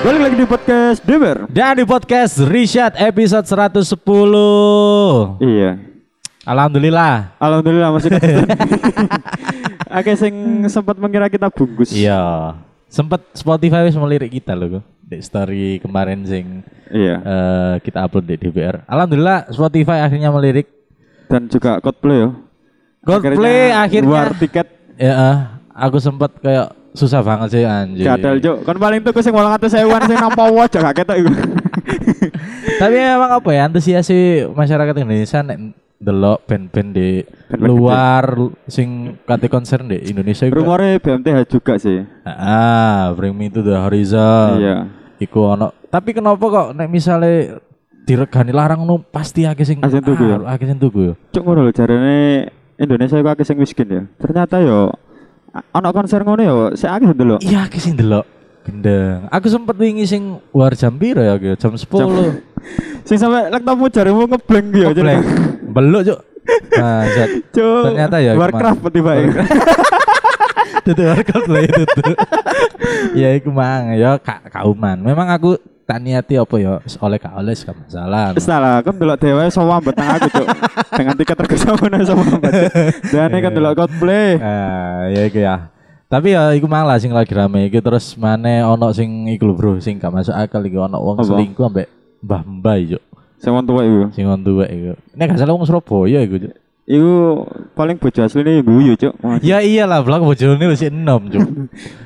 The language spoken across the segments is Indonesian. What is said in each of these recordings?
Balik lagi di podcast Deber. Dan di podcast Rishad episode 110 Iya. Alhamdulillah Alhamdulillah masih konsisten. Oke, sing sempat mengira kita bungkus. Iya Sempet Spotify wis melirik kita loh Di story kemarin sing Iya. eh, kita upload di DPR Alhamdulillah Spotify akhirnya melirik Dan juga Coldplay yo. Coldplay akhirnya, War tiket Ya, eh, Aku sempet kayak susah banget sih anjir gadel juk. Kan paling tuku sing 800.000an sing nampa wajah gak ketok iku. Iya. Tapi emang apa ya antusias sih masyarakat Indonesia nek delok band-band di Band-band luar sing kate konser di Indonesia iku- Rumore BMTH juga sih. Ah, Bring Me to the Horizon. Iya. Iku ono. Tapi kenapa kok nek misale diregani larang nu pasti akeh sing Akeh sing tuku ya? Ah, akeh sing tuku ya. Cuk ngono lho jarane Indonesia iku akeh sing miskin ya. Ternyata yo a- ana konser ngono yo sik akeh ndelok. Iya akeh sing delok gendeng. Aku sempet wingi sing war jam piro ya Gil? Jam 10. Sing sampe lek tamu jarimu ngeblank yo. Cuk. Belek. Belok, Cuk. Nah, Zat. Cuk. Ternyata ya, Warcraft tiba-tiba. Tutu warkop lah itu tuh. Ya iku mang ya kak kauman. Memang aku tak niati apa ya oleh kak oleh gak masalah. Wis lah, kan delok dhewe sewambet nang aku, Cuk. Dengan tiket tergesa ngono sewambet. Dane kan delok Coldplay. Ah, ya iku ya. Tapi ya iku malah sing lagi rame iki terus maneh ono sing iku lho bro sing gak masuk akal iki ono wong Apa? selingkuh ambek mbah-mbah iki, Cuk. Sing wong tuwa iku. Sing on tuwek iku. Nek gak salah wong Surabaya iku, Cuk. Iku paling bojo asline guyu, Cuk. Wah, Ya iyalah, blak bojone wis enom, Cuk.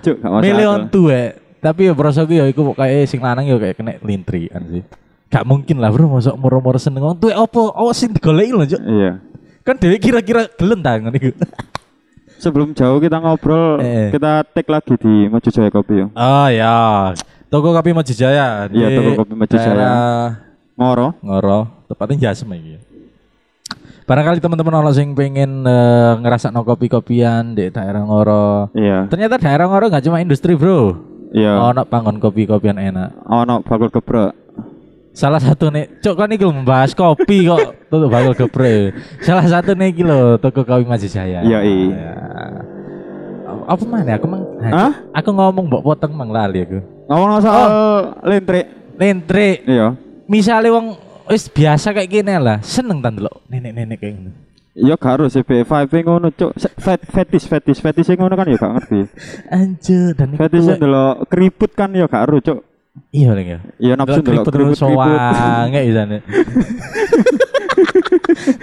Cuk, gak masuk. Milih akal. on tuwek. Tapi ya prosoku ya iku kayak sing lanang ya kayak kena lintrian sih. Gak mungkin lah bro masuk moro-moro seneng on tuwek opo? Oh sing digoleki lho, Cuk. Iya. Kan dhewe kira-kira gelem ta ngono iku. Sebelum jauh kita ngobrol, Eh. kita tag lagi di Mojojaya Kopi yo. Oh ya. Toko Kopi Ah, Mojijaya. Iya, di Toko Kopi Mojijaya. daerah- Moro. ngoro tepatnya jasem iki barangkali teman-teman ono sing pengen eh, ngerasakno kopi-kopian di daerah ngoro Iya. ternyata daerah ngoro nggak cuma industri bro Iya. ono panggon kopi-kopian enak Ono bakul geprek. salah satu nih cok kan iki lho membahas kopi kok tutup bakul geprek salah satu nih iki lho toko kopi masih saya Yoi. ya. apa mana aku mang Hah? aku ngomong mbok poteng mang lali aku Ngomong soal Oh. lintrik. Lentrik Iya. misalnya wong wis biasa kayak gini lah seneng tan delok nenek-nenek kayak gini Iya gak harus sih vibe ngono cuk. Se- fet- Fetish fetish fetish ngono kan ya gak ngerti. Anjir dan itu Fetish ndelok keriput kan ya gak harus cuk. iya lagi ya. Iya nafsu delok keriput keriput. nggak bisa nih.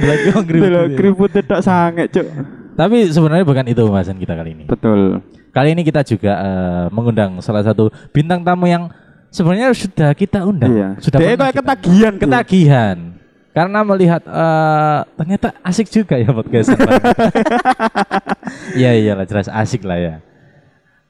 Lagi orang Delok keriput. keriput tidak sange cuk. Tapi sebenarnya bukan itu pembahasan kita kali ini. Betul. Kali ini kita juga eh, mengundang salah satu bintang tamu yang sebenarnya sudah kita undang. Iya. Sudah Dia pernah kayak kita- ketagihan tuh. ketagihan. Karena melihat eh, ternyata asik juga ya podcast. Iya iyalah jelas asik lah ya.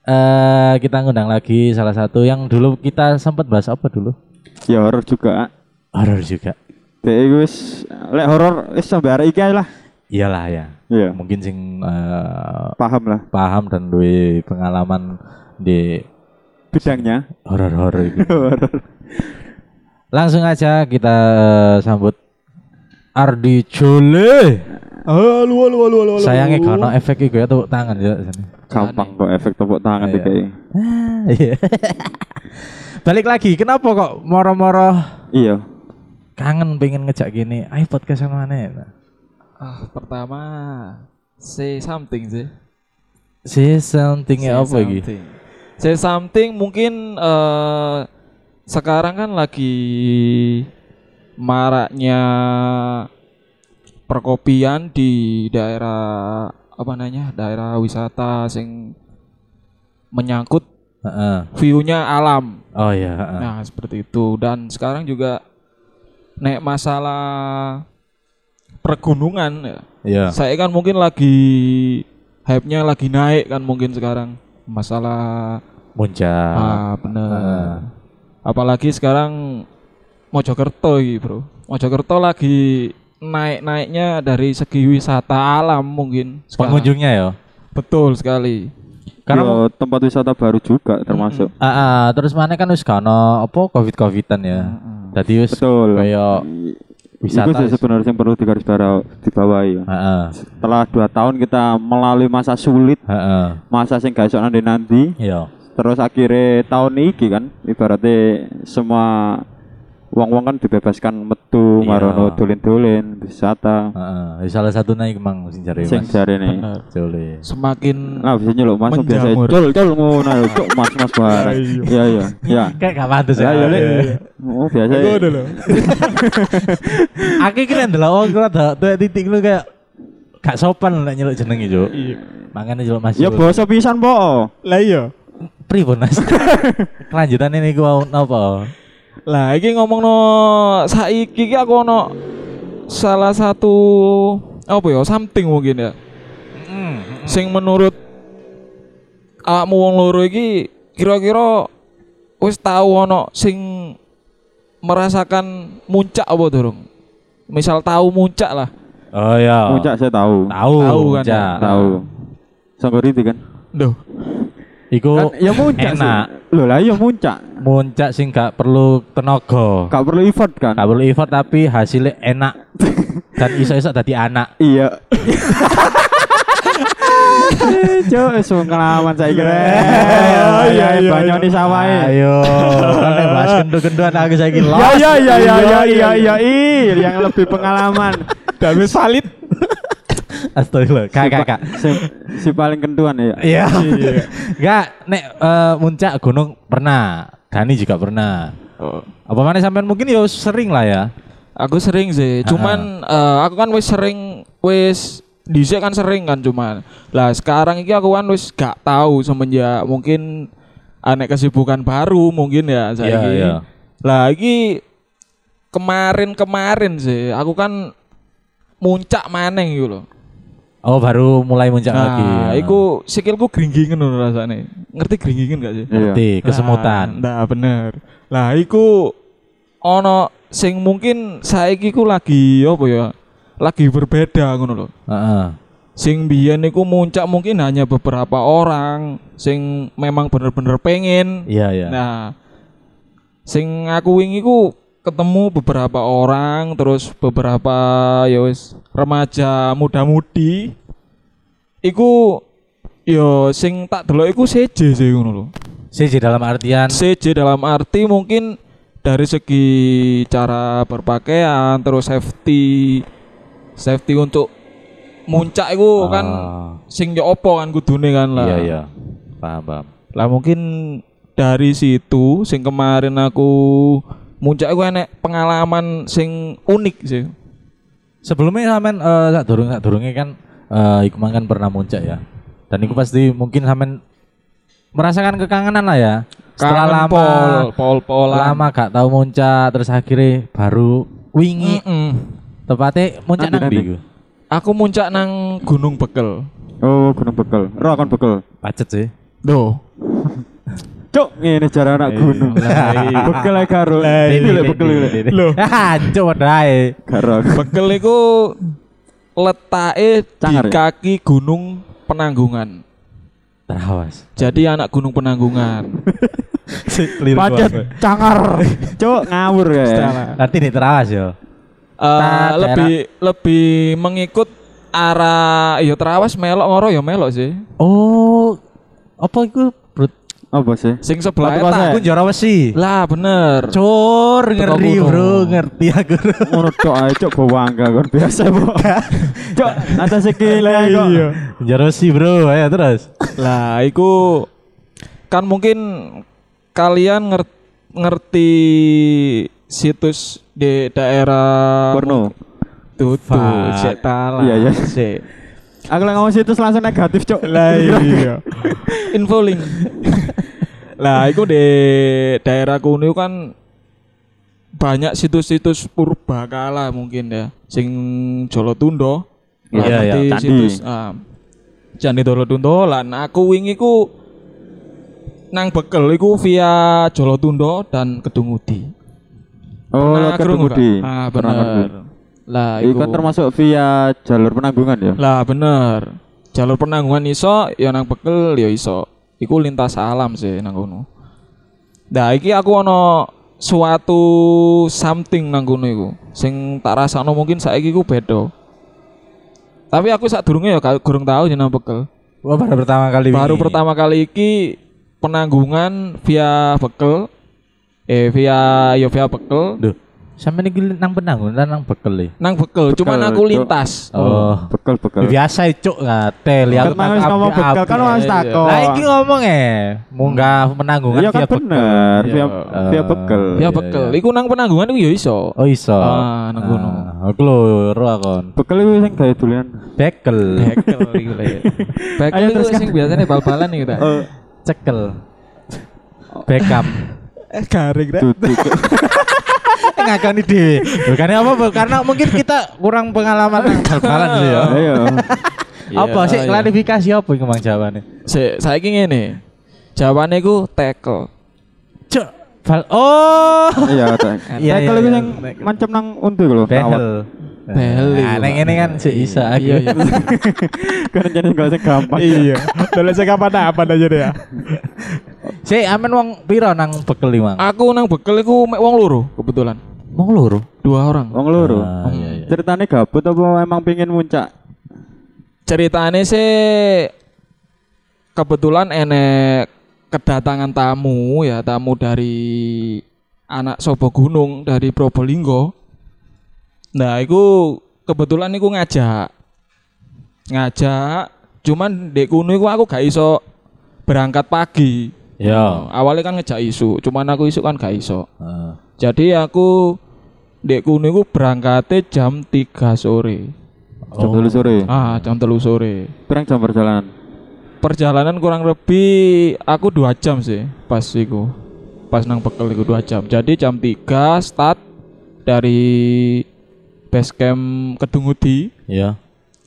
Eh kita ngundang lagi salah satu yang dulu kita sempat bahas apa dulu? Ya horor juga. Horor juga. Dia itu wis lek horor wis sampai hari iki ae lah. Iyalah ya. Iya. Mungkin sing eh, Paham lah paham dan duwe pengalaman di bidangnya horor-horor itu. horor. Langsung aja kita eh, sambut Ardi Jole. Halo, halo, halo, halo. halo. Sayangnya gak ono efek iku ya tepuk tangan ya sini. Gampang kok efek tepuk tangan Iya. iki. Ah, iya. Balik lagi, kenapa kok moro-moro Iya. kangen pengen ngejak gini? Ayo podcast sama mana? ya, Ah, pertama say something sih. Si something ya, Say apa lagi? something. Say something mungkin eh sekarang kan lagi maraknya perkopian di daerah apa namanya? Daerah wisata sing menyangkut Heeh. view-nya alam. Oh iya, heeh. Nah, seperti itu. Dan sekarang juga nek masalah pergunungan ya. Iya. Nah. Saya kan mungkin lagi hype-nya lagi naik kan mungkin sekarang masalah Nah. Muncak. ah, bener. ah. Apalagi sekarang Mojokerto iki, Bro. Mojokerto lagi naik-naiknya dari segi wisata alam mungkin sekarang. Pengunjungnya ya. Betul sekali. Iya. Karena Yo, Iya, tempat wisata baru juga termasuk. Ah, ah, terus mana kan wis kano apa covid covidan ya. Tadi wis Betul. kayak Itu wisata. sih sebenarnya yang perlu digaris bara- dibawahi ya. Heeh. Setelah dua tahun kita melalui masa sulit, Heeh. masa sing gak iso nanti-nanti, Iya. terus akhirnya tahun iki kan ibaratnya semua wong-wong kan dibebaskan metu Iya. marono dolen-dolen wisata Heeh, salah satu naik mang sing jare sing Mas. jare nih Bener. Jole. Semakin Nah, bisa nyeluk mas biasa Menjamur. cul cul ngono ayo, cuk mas mas bareng. Iya iya iya. Kayak gak pantes Ya ya. ya Lek. Oh biasa. Aku kira ndelok wong kira dak tuwek titik lu kayak gak sopan nek nyeluk jenenge, Cuk. Iya. Makane jeluk Mas. Ya Jul. boso pisan po. Lah iya. pripun Mas? Kelanjutan ini gua napa? Lah iki ngomongno saiki iki aku ono salah satu apa ya something mungkin ya. Sing menurut awakmu wong loro iki kira-kira wis tau ono sing merasakan muncak apa durung? Misal tahu muncak lah. Oh ya. Puncak saya tahu. Nah. Tahu. Tahu kan, Cak. ya. Tahu. Songgori itu kan. Duh, Iku Kan, ya muncak sih. enak. Loh lah ya muncak. muncak sing gak perlu tenaga. Gak perlu effort kan. Gak perlu effort tapi hasilnya enak. Dan iso-iso dadi anak. Iya. Cuk, wis pengalaman saya kira. iya, Iya, iya, banyak iya. nih sawahe. Ayo, kan yang bahas kendu-kenduan aku saiki Ya los. ya ya ya ya ya ya iya, yang lebih pengalaman. Dan wis valid. Astagfirullah. Kak, kak, kak. Si, si paling kentuan ya. Iya. Enggak, nek eh, muncak gunung pernah. Dani juga pernah. Oh. Apa mana sampean mungkin ya sering lah ya. aku sering sih. Cuman eh, aku kan wis sering wis dhisik kan sering kan cuman. Lah sekarang iki aku kan wis gak tahu semenjak mungkin anek kesibukan baru mungkin Iya, ya saiki. Lah iki kemarin-kemarin sih aku kan muncak maneng gitu loh. Oh, baru mulai muncak lagi. Ah. Nah, iku sikilku gringgingen ngono rasane. Ngerti gringgingen gak sih? Iya. Ngerti, kesemutan. Nah, nah, bener. Lah iku ono sing mungkin saiki ku lagi apa ya? Lagi berbeda ngono loh. Heeh. Sing biyen iku muncak mungkin hanya beberapa orang sing memang bener-bener pengen. Iya, iya. Nah, sing aku wingi ku ketemu beberapa orang terus beberapa ya wis remaja muda-mudi iku yo sing tak delok iku seje sih ngono lho. Siji dalam artian CJ dalam arti mungkin dari segi cara berpakaian terus safety safety untuk muncak itu kan Ah. sing yo opo kan kudune kan lah. Iya, iya. Paham, paham. Lah mungkin dari situ sing kemarin aku muncak iku enek pengalaman sing unik sih. Sebelumnya sampean eh sak durung sak durunge kan eh iku mang kan pernah muncak ya. Dan iku pasti mungkin sampean merasakan kekangenan lah ya. Setelah Kangen lama pol pol polan. lama gak tahu muncak terus akhirnya baru wingi Mm-mm. tepatnya muncak Nanti, nang nanti. ndi iku? Aku muncak nang Gunung Bekel. Oh, gunung bekel. Roh kon bekel. Pacet sih. Duh. Cuk, ngene jare anak gunung. Bekel ae karo. Iki lek bekel iki lek. Loh. Hancur ae. Karo. Bekel iku letake di Cangar ya? kaki Gunung Penanggungan. Terawas. Jadi anak Gunung Penanggungan. Eh, Pacet cangar. Cuk, ngawur ya. Berarti nih terawas yo. Eh, daerah- lebih lebih mengikut arah ya terawas melok ngoro ya melok sih. Oh, apa iku Brut? Apa sih? Sing Batu sebelah Kosek. eta. Aku njara wesi. Lah bener. Cur, ngeri kuno. bro, ngerti aku. Ngono tok ae cuk bawangga kon biasa po. Cuk, atas iki lek kok. Iya. Njara wesi bro, ayo terus. lah iku kan mungkin kalian nger- ngerti situs di daerah Porno. tuh tuh Fuck. cek talah. Iya, iya. Sik. Aku lek ngomong situs langsung negatif cuk. Lah iya. info link lah itu di daerah kuno kan banyak situs-situs purba kala mungkin ya sing Jolotundo Lah, Iya, iya, nanti candi. situs ah, candi Jolotundo lan nah, aku wingi ku nang bekel iku via Jolotundo dan Kedungudi Oh, Pernah krungu ketemu di. gak? Nah, ah Pernah bener ketemu. lah Iku kan termasuk via jalur penanggungan ya. lah bener. Jalur penanggungan iso, ya nang bekel ya iso. Iku lintas alam sih nang kono. Nah, iki aku ono suatu something nang kono iku. Sing tak rasakno mungkin saiki ku beda. Tapi aku sak durunge ya ga- gurung tahu jeneng bekel. Wah, baru pertama kali. Baru wingi. pertama kali iki penanggungan via bekel eh via ya via bekel Duh. Sampe niki nang penanggung nang bekel ya. nang bekel, Bekel, cuman aku Cuk. lintas Oh. Bekal bekal. Biasa e, cuk ngate lihat Kan mau ngomong bekal kan harus iya. takon. Lah iki ngomong eh munggah penanggungan Iya kan via bekel. bener. Iya. Via via Eh, bekal. via iya, bekel iya. iku nang penanggungan iku ya iso Oh iso. Ah, nang kono. Ah, Aku loro akon. Bekal itu yang kayak durian. Bekel. bekel iku lah ya bekel Ayo iku teruskan. sing biasanya bal-balan iku ta Eh, Cekel. Bekam. Eh garing dah. duduk. Ngakoni dhewe. Bukannya apa, Bu? Karena mungkin kita kurang pengalaman nang bal-balan sih ya. Ayo. Apa sih Iya. klarifikasi apa iki Mang jawane? Se, saiki ngene. Jawabannya ku tackle. Cuk. Bal oh. Iya, tak. Iya, Bekal iya, itu iya. yang macam nang untu lho. Behel. Behel Nah, iya. neng ini kan si Isa Iya, iya. Kan jadi kalau yang gampang. Iya. Dalam saya kapan apa aja deh ya. Si amen wong piro nang bekel iki, Mang? Aku nang bekel iku mek wong loro kebetulan. Wong loro. Dua orang. Wong loro. Ah, iya, iya. Ceritanya gabut apa emang pingin muncak? Ceritane sih kebetulan enek kedatangan tamu ya, tamu dari anak Sobo Gunung dari Probolinggo. Nah, iku kebetulan iku ngajak. Ngajak, cuman dek kuno iku aku gak iso berangkat pagi. Yo. Awalnya kan ngejak isu, cuman aku isu kan gak iso. Ah. Jadi aku dek kuno iku berangkatnya jam 3 sore. Jam Oh. dulu sore. Ah, jam 3 sore. Pirang jam perjalanan. Perjalanan kurang lebih aku dua jam sih pas iku. Pas nang bekel iku dua jam. Jadi jam 3 start dari base camp Kedungudi Yo.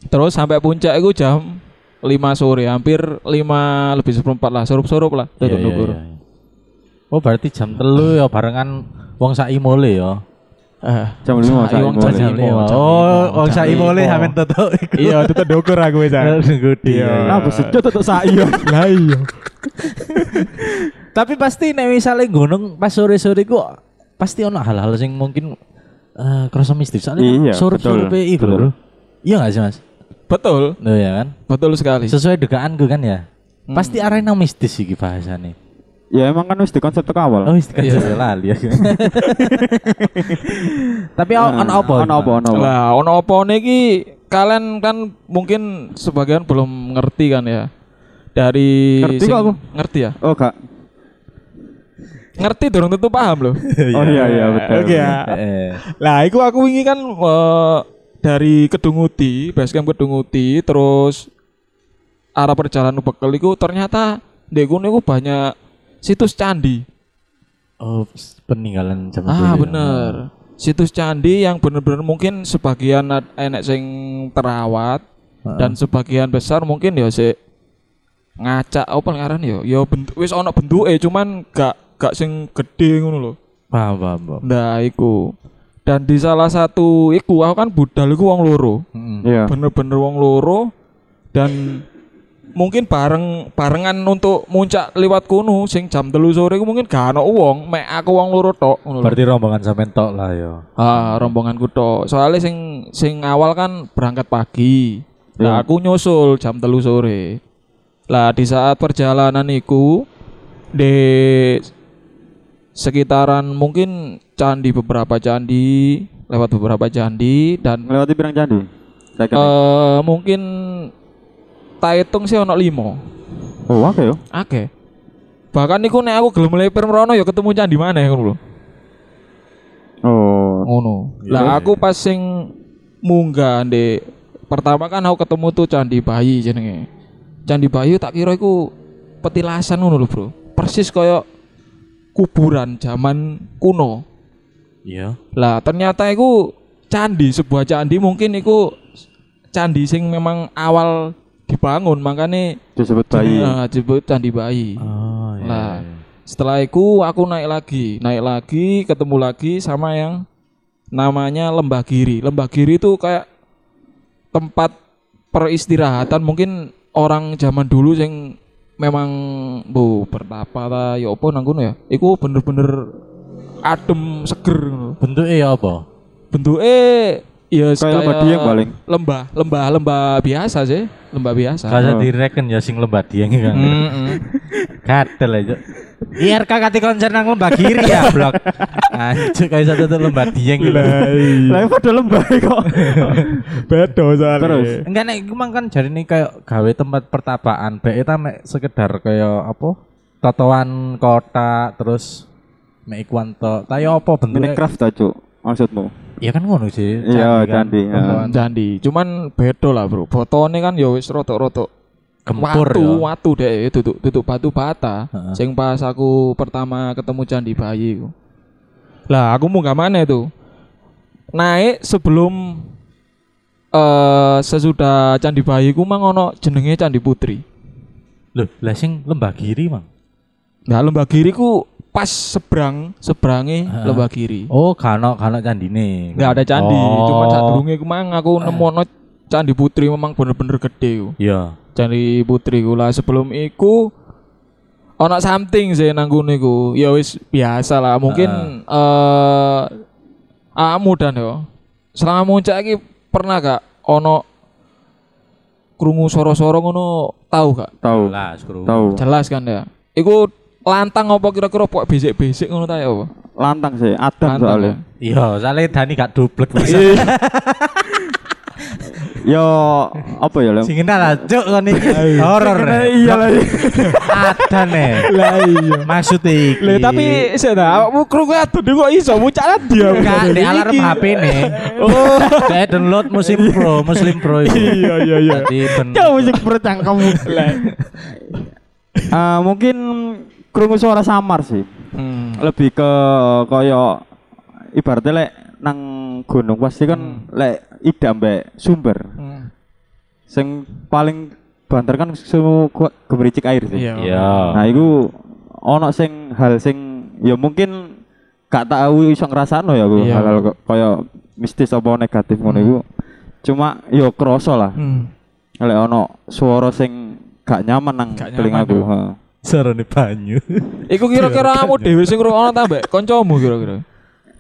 terus sampai puncak itu jam 5 sore hampir 5 lebih seperempat lah surup-surup lah Iya, tutup iya, dukur. iya, iya. Oh berarti jam telu ya barengan wong sak imole ya. Eh, Jam lima Sai saya wong mulai. jam lima, jam Oh, lima, wong jam sak lima. imole sampe tetuk iku. Iya, itu terdukur aku ya. Iya. Nah, bos itu tuh saya. Lah iya. Tapi pasti nek misale gunung pas sore-sore ku pasti ono hal-hal sing mungkin eh kerasa mistis soalnya Iya, surup-surup betul, iku betul. lho. Iya gak sih Mas? Betul, Loh ya kan? betul sekali. Sesuai dugaanku kan ya. Pasti arahnya nang mistis iki bahasane. Ya emang kan wis di konsep teko awal. Oh, kan sudah lali ya. Tapi iya. ono apa? Ono apa ono apa? Lah, ono apa niki kalian kan mungkin sebagian belum ngerti kan ya. Dari Ngerti sing- kok aku. Ngerti ya. Oh, gak. Ngerti dorong tentu paham loh. Oh iya iya betul. Oke ya. Eh, Lah, iku aku wingi kan eh, dari Kedunguti, basecamp Kedunguti terus arah perjalanan bekel iku ternyata ndek kono iku banyak situs candi. Oh, s- peninggalan zaman Ah, dulu ya. bener. Situs candi yang bener-bener mungkin sebagian ad- enek sing terawat Heeh. dan sebagian besar mungkin ya sik ngacak apa ngaran ya ya bentuk wis ana bentuke cuman gak gak sing gede ngono lho. paham paham. paham. Nah, iku. Dan di salah satu iku aku kan budal iku wong loro. Mm. Iya. Bener-bener wong loro dan mungkin bareng barengan untuk muncak liwat kuno sing jam telu sore iku mungkin gak ana wong mek aku wong loro tok ngono lho. Berarti rombongan sampean tok lah ya. Ah, rombonganku tok. Soalnya sing sing awal kan berangkat pagi. Ya. Nah, aku nyusul jam telu sore. Lah di saat perjalanan iku di sekitaran mungkin candi beberapa candi, lewat beberapa candi dan Melewati pirang candi. Saya eh Oh. kira. mungkin tak hitung sih ono limo. Oh, oke yo. Oke. Bahkan niku nek aku gelem meleper merono ya ketemu candi mana ya ngono lho. Oh. ngono. Iya. Lah aku pas sing munggah ndek pertama kan aku ketemu tuh Candi Bayi jenenge. Candi Bayi tak kira iku petilasan ngono lho, Bro. Persis koyo kuburan zaman kuno. Iya. Lah ternyata iku candi, sebuah candi mungkin iku candi sing memang awal dibangun makanya Disebut bayi. eh, disebut Candi Bayi. Oh, iya. Lah. iya. Nah, Setelah itu aku naik lagi, naik lagi, ketemu lagi sama yang namanya Lembah Giri. Lembah Giri itu kayak tempat peristirahatan mungkin orang zaman dulu yang memang bu bertapa ta ya apa nang kono ya. Iku bener-bener adem seger ngono. Bentuknya ya apa? Bentuke Iya, Kayak lembah dieng paling. Lembah, lembah, lembah biasa sih, lembah biasa. Kalau Oh. direken ya sing lembah dieng iki kan. Mm-mm. Gatel aja. IRK kate konser nang lembah kiri ya, blok. Anjir Ah, kayak satu tuh lembah dieng gitu. Lah iya, padha lembah kok. Bedo soalnya. Terus? Enggak nek iku mang kan jari ini kayak gawe tempat pertapaan. Bae ta mek sekedar kayak apa? Totoan kota terus mek iku anto. Tayo apa bentuknya? Minecraft ta, Cuk. Maksudnya Ya kan ngono sih. Iya, kan. candi, ya. Bentukan Candi, cuman beda lah, Bro. Fotone kan ya wis rotok-rotok Gempur watu, ya. watu deh, tutup tutup batu bata. Heeh. Sing pas aku pertama ketemu Candi Bayi ku. Lah, aku mau gak mana itu? Naik sebelum eh sesudah Candi Bayi ku mang ono jenenge Candi Putri. Loh, lah sing lembah kiri, Mang. Nah, lembah kiri ku pas seberang, seberangi Heeh. lembah kiri. Oh, kano kano candine. Enggak ada candi, Oh. cuman saat ku mang aku nemu ono Candi Putri memang bener-bener gede ku. Iya. Cari putri kula sebelum iku ono something sih nang kono iku. Ya wis biasa lah mungkin eh amu dan yo. Selama muncak iki pernah gak ono krungu soro-soro ngono tahu gak? tahu. Jelas, Bro. Tahu. Jelas kan ya. Iku lantang apa kira-kira pok bisik-bisik ngono ta ya apa? Lantang sih, adam Lantang soalnya. ya. Iya, soalnya Dani gak dublek bisa. Yo apa ya, Lem? Sing kenal lah, cuk kon iki. Horor. Iya lah. Ada nih. Lah iya. Maksud iki. Lah tapi sih ta, awakmu krungu aduh kok iso muncak dia. Enggak, di alarm HP nih. Oh, saya download Muslim Pro, Muslim Pro itu. Iya iya iya. Jadi ben musik percangkem. Eh, mungkin krungu suara samar sih. Hmm. Lebih ke koyo ibaratnya lek nang gunung pasti kan lek idam mbek sumber. Hmm. Sing paling banter kan semua gemericik air sih. Iya. Iya. Nah, iku ono sing hal sing ya mungkin gak tahu iso ngrasakno ya aku Iya. hal-hal ko- koyo mistis apa negatif ngono iku. Cuma yo kroso lah. Hmm. Lek ono suara sing gak nyaman nang Gak nyaman telingaku. yo. ha. Sarane banyu. Iku kira-kira kamu dhewe sing ngrungokno ta mbek kancamu kira-kira.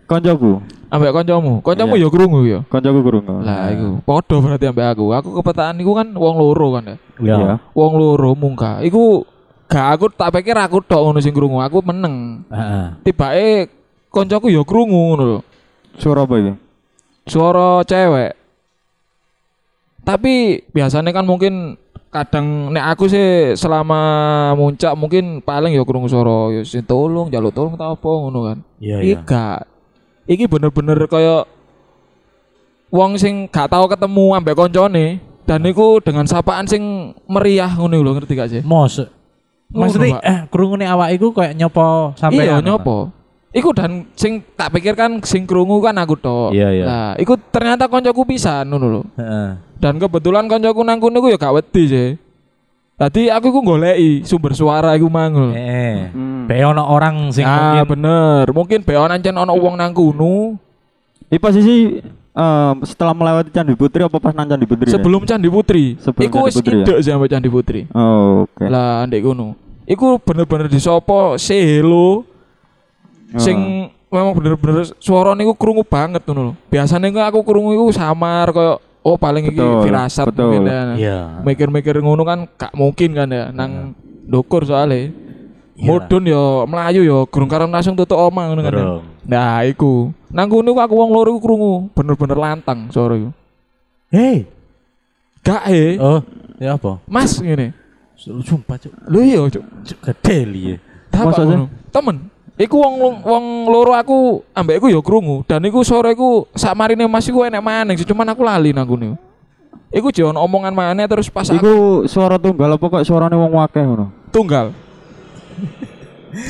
Koncoku, Ambek kancamu. Kancamu ya krungu ya. koncoku krungu. Lah iku padha berarti ambek aku. Aku kepetaan iku kan wong loro kan ya. Iya. Wong loro mungka. Iku gak aku tak pikir aku tok ngono sing krungu. Aku meneng. Heeh. Tibake kancaku ya krungu ngono lho. Suara apa iki? Suara cewek. Tapi biasanya kan mungkin kadang nek aku sih selama muncak mungkin paling ya krungu suara ya sing tolong jaluk tolong ta apa ngono kan. Iya, Iki iya. gak. Iki bener-bener kaya wong sing gak tau ketemu ambek koncone dan Nah. niku dengan sapaan sing meriah ngono lho ngerti gak sih? Mos. Ngono, Maksudnya Pak. eh krungune awak iku koyo nyopo sampai iya anu, Pak. nyopo. Iku dan sing tak pikir kan sing krungu kan aku tok. Iya, iya. Nah, iku ternyata koncoku pisan ngono lho. Heeh. Dan kebetulan koncoku nang kono iku ya gak wedi sih. Tadi aku ku goleki sumber suara iku mangul. Eh. Hmm. Be ono orang sing ah, mungkin bener. Mungkin beonan ancen ono wong nang kono Ini posisi em, setelah melewati Candi Putri apa pas nang Candi Putri? ya? sebelum Candi Putri. Sebelum iku Candi wis Putri ya? idek sih ambek Candi Putri. Oh, oke. lah ndek kono iku bener-bener disopo say hello Ah. sing memang bener-bener suara niku krungu banget ngono lho biasane ku aku krungu iku samar koyo oh paling iki Betul, firasat betul. mungkin ya Iya. mikir-mikir ngono kan gak mungkin kan ya nang ndukur Iya. soalnya mudun ya, yo melayu yo gurung karep langsung tutuk omah ngono kan ya. Burung. nah iku nang kono iku aku wong loro iku krungu bener-bener lantang suara iku Hei. gak eh Oh, ya apa? mas ngene Sumpah cuk, lho iya Cuk. cuk gede liye. Dapat Maksudnya? ngono. Temen. Iku wong wong loro aku ambek iku ya krungu dan iku sore iku sak marine Mas iku enek maning sih, cuman aku lali nang kono. Iku jek ono omongan maneh terus pas aku Iku suara tunggal apa kok suarane wong akeh ngono? tunggal.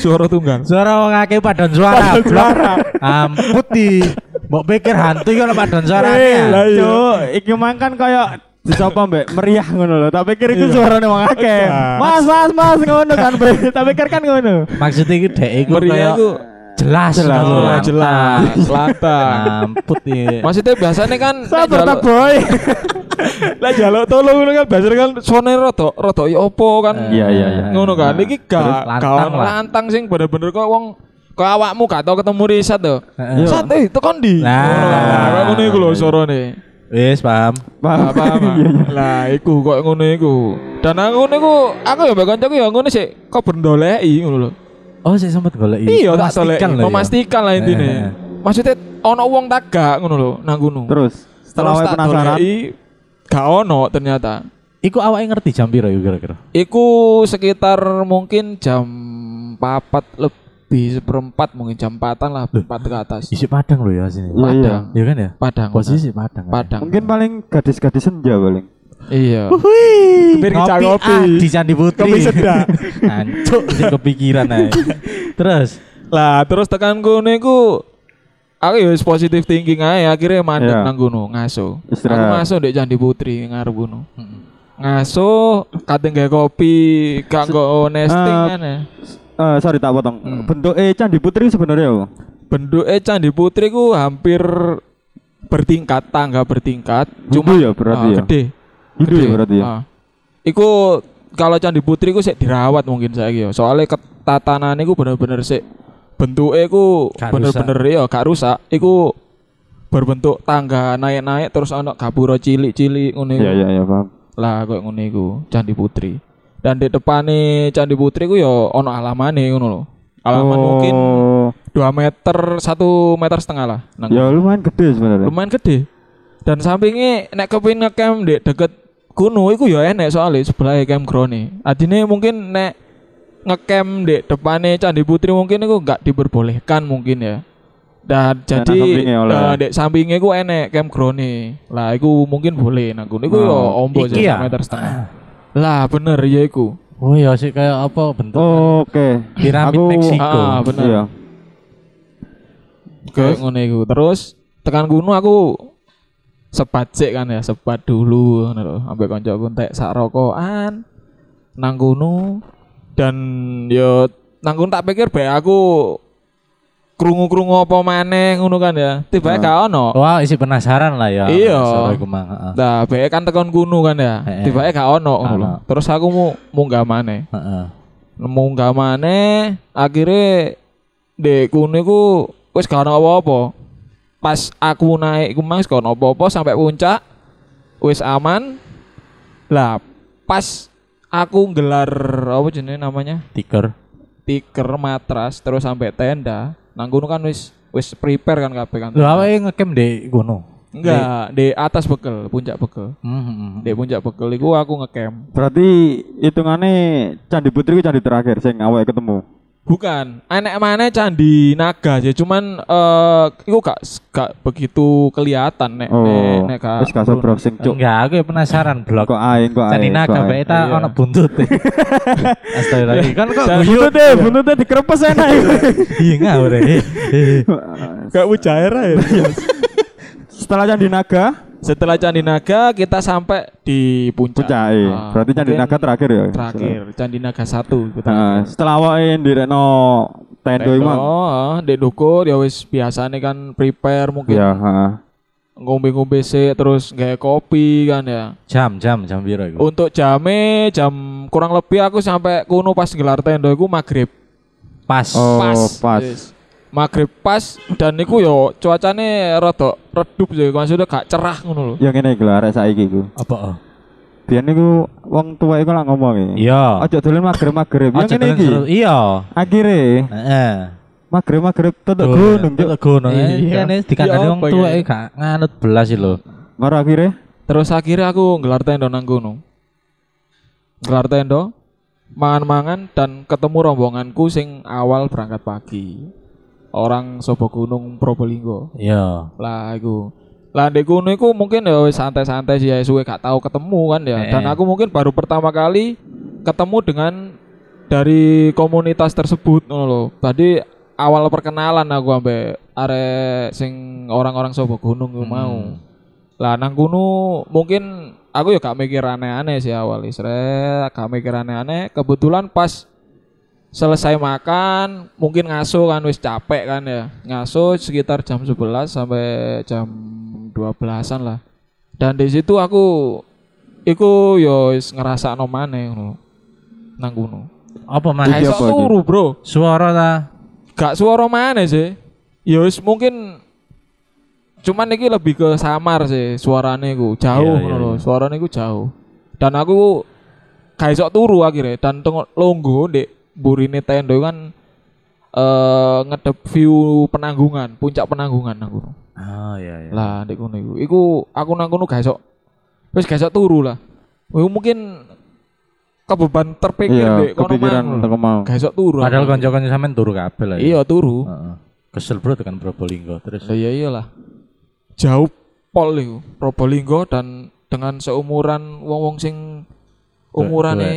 Suara tunggal. Suara wong akeh padon suara. Suara. Amput di. Mbok pikir hantu iki ono padon suara. lah iya. Cuk, iki mang kan kaya disapa mbek meriah ngono lho. Tak pikir Iya. iku suarane wong akeh. Enggak. Mas, mas, mas ngono kan bre. Tak pikir kan ngono. Maksud iki dhek iku Meriah kaya iku "Oh, jelas Jelas, ngono, jelas, lantang. jelas lantang. Amput iki. Maksudnya biasanya kan nek Sabar ta, jaluk- boy. lah jaluk tolong ngono kan biasanya kan sone rada rada ya opo kan. Iya, iya, iya. Ngono kan iki Eh, Terus gak lantang kawan lah. lantang sing bener-bener kok wong Kau awakmu gak tau ketemu riset tuh. Heeh. Sat, eh, tekan di. Nah. kau ngono iku lho sorone. Wis paham. Paham. Apa apa. Iya, Lah, iku kok ngono iku. Dan aku ngono iku, aku ya mbek kancaku ya ngono sik, kok bendoleki ngono lho. Oh, saya sempat golek. Iya, tak doleki. lho ya. Memastikan lah Heeh. intine. Maksudnya ono wong tagak ngono lho, nang kono. Terus setelah awake Terus tak penasaran, doleki, gak ono ternyata. Iku awake ngerti jam piro iku kira-kira? Iku sekitar mungkin jam papat lebih seperempat mungkin jam empatan lah empat ke atas. Isi Padang lho ya sini. Lah, iya. Padang, Iya kan ya? Padang, Posisi Padang. Padang. mungkin paling gadis-gadis senja paling. Iya. Wih, Kepir kita ngopi ngopi. ah, di Candi Putri. Kopi sedak. Ancuk, sing kepikiran ae. Terus, Lah terus tekan kono iku aku ya wis positif thinking ae akhirnya mandek Iya. nang kono ngaso. Istirahat. Aku ngaso ndek Candi Putri ngarep kono. Ngaso kate nggae kopi gak nggo nesting eh, kan ya. Eh sorry tak potong. Hmm. Bentuk eh Candi Putri sebenarnya apa? Bentuke Candi Putri ku hampir bertingkat tangga bertingkat Hindu ya berarti ah, ya. gede Hindu Gede. ya berarti ya. Ah. Iku kalau Candi Putri ku sik dirawat mungkin saiki ya. Soale ketatanane ku bener-bener sik bentuke ku Gak bener-bener ya gak rusak. Iku berbentuk tangga naik-naik terus ana gapura cilik-cilik ngono iku. Iya iya iya paham. Lah kok ngono iku Candi Putri. Dan di depane Candi Putri ku ya ana alamane ngono lho. Alaman mungkin Oh, 2 meter, 1 meter setengah lah. Nang Ya lumayan gede sebenarnya. lumayan gede dan sampingnya nek kepin ngecamp di deket kuno iku ya enek soalnya sebelah camp grone adine mungkin nek ngecamp di depannya Candi Putri mungkin iku nggak diperbolehkan mungkin ya dan Dan jadi nang sampingnya oleh. nah, di sampingnya iku enek camp grone lah iku mungkin boleh nah kuno iku ya Oh, ombo iki sih, ya? meter setengah lah bener ya iku oh ya sih kayak apa bentuk Oke. piramid Oh, Aku- Meksiko. ah bener Iya. Kayak ngono iku. Terus tekan kuno aku sebat sik kan ya, sebat dulu ngono lho. Ambek koncoku entek sak rokokan nang kuno dan yo nang kuno tak pikir bae aku krungu-krungu apa maneh ngono kan ya. Tiba-tiba gak ono. Wah, isi penasaran lah ya. ah. Iya. Soalnya aku mah, heeh. Nah, bae kan tekan kuno kan ya. Heeh. Tiba-tiba gak ono ngono lho. Ono. Terus aku mau munggah maneh. Heeh. nemu gak maneh akhirnya dek kuno ku wis gak ono apa-apa pas aku naik ku mas gak ono apa-apa sampai puncak wis aman lah pas aku gelar apa jenenge namanya Tiker. tiker matras terus sampai tenda nang kono kan wis wis prepare kan kabeh kan Lho awake ngecamp di gunung. enggak di atas bekel puncak bekel Heeh. di puncak bekel iku aku ngecamp Berarti hitungannya Candi Putri itu candi terakhir sing awake ketemu. Bukan, enek mana candi naga sih, cuman eh iku gak gak begitu kelihatan nek nek Oh. nek gak Wis gak usah Bruno. browsing cuk. Enggak, aku ya penasaran blog. hmm. Kok aing kok aing. Candi kok naga aing. bae ta Iya. ana buntut. Astagfirullah. Kan kok Dan- guyu Buntutnya, buntutnya dikerepes enak. iya ngawur. eh. Gak ujair ya. Setelah Candi Naga, Setelah candi naga kita sampai di puncak. puncak. eh. Ah, Berarti Candi mungkin Naga terakhir ya. Terakhir candi naga satu. kita Nah, setelah awake ndirekno tendo iku. Mang. Oh, di dukur ya wis biasane kan prepare mungkin Ya, heeh. ngombe-ngombe sik terus gawe kopi kan ya. Iya. Jam, jam, jam piro iku? Untuk jamnya jam kurang lebih aku sampai kuno pas gelar tenda iku maghrib. Pas. Oh, pas, pas. Yes. Maghrib pas dan niku yo cuacane rada redup ya maksudnya gak cerah ngono lho. Ya ngene iku lho arek saiki iku. Apa? oh? Biyen niku wong tua iku lak ngomong e. Iya. Ojo dolen magrib-magrib. Ya Ojo ngene dolen iki. seru- Iya. Akhire Heeh. magrib-magrib tetek gunung. Cuk. Tetep gunung. Iya. Iya. Kan dikandani Iya, wong apa tuwa ya? iki gak nganut belas sih lho. Mara akhire Terus akhirnya aku ngelar tenda nang gunung. Ngelar tenda, mangan-mangan dan ketemu rombonganku sing awal berangkat pagi. Orang Sobo Gunung Probolinggo. Iya. Lah iku. Lah ndek kono iku mungkin ya wis santai-santai sih ya suwe gak tau ketemu kan ya. Eh, Dan eh. aku mungkin baru pertama kali ketemu dengan dari komunitas tersebut ngono lho. Tadi awal perkenalan aku ambe arek sing orang-orang Sobo Gunung iku mau. Lah nang kono mungkin aku ya gak mikir aneh-aneh sih awal Isre, gak mikir aneh-aneh. Kebetulan pas selesai makan mungkin ngaso kan wis capek kan ya ngaso sekitar jam 11 sampai jam 12-an lah dan di situ aku iku yo wis ngrasakno maneh ngono nang kono Apa Gak mas? Iki iso apa iki? turu bro Suara ta? gak suara mana sih ya wis mungkin cuman iki lebih ke samar sih suarane ku jauh Iya, ngono iya, lho iya. suarane ku jauh dan aku gak iso turu akhirnya dan tengok longgo ndek burine tendo kan eh ngedep view penanggungan puncak penanggungan aku Oh iya iya. lah ndek kono iku iku aku nang kono gak iso wis gak iso turu lah Wih, mungkin kebeban terpikir Iya, ndek kono kepikiran mang. teko mau. gak iso turu Padahal aku. kanca-kanca sampean turu kabeh lah. ya. iya turu Heeh. Kesel bro tekan Probolinggo terus. Lah iya iyalah. Jauh pol iku, Probolinggo dan dengan seumuran wong-wong sing umurane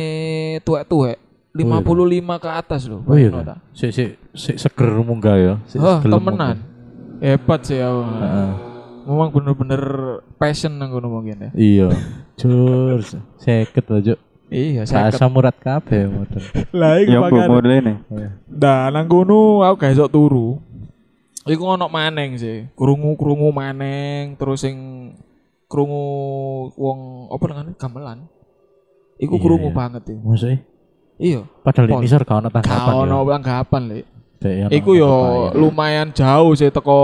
tuwek-tuwek 55 ke atas loh. iya. Oh iya. bayangno ta. kan? Sik sik sik seger munggah ya. Sik Hah, seger temenan. munggah. Hebat sih aku. Heeh. Memang bener-bener passion nang ngono mungkin ya. Iya. Jur, seket aja. Iya, saya Bahasa murat kabeh model. Lah Ya bu model ini. Nah, nang kono aku gak iso turu. Iku ono maneng sih. Krungu-krungu maneng terus sing krungu wong apa namanya gamelan. Iku Iya, krungu iya. banget iku. Maksudnya Iya. padahal di Pol. nisor gak ono tanggapan. Gak ya. ono tanggapan, Lek. Dek, ya, Iku ono yo kebayang. lumayan jauh sih teko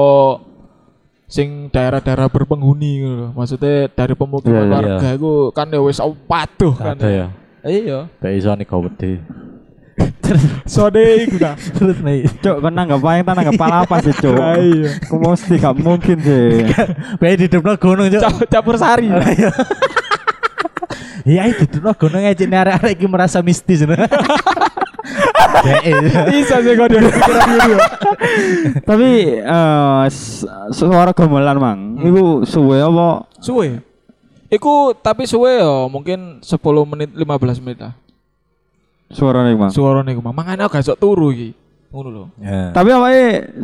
sing daerah-daerah berpenghuni gitu loh. Maksudnya dari Iya, pemukiman iya. warga iku kan ya wis patuh kan. ada ya. Iya. Dek iso nih kau wedi. Sode iku dah. Terus nih Cuk, kena nggak paling tanah nggak pala apa sih cuk? Lah iya. Kau mesti gak mungkin sih. Bayi di depan gunung cok. Ca- Campur sari. Iya itu dulu gunung aja nih arek-arek iki merasa mistis. Dek, iya. Bisa sih kok dia. Tapi eh, s- suara gamelan mang, itu suwe apa? Suwe. Iku tapi suwe yo mungkin 10 menit 15 menit lah. Suara nih mang. Suarane iku mah mangane aku gak iso turu iki. Ngono lho. Ya. Tapi apa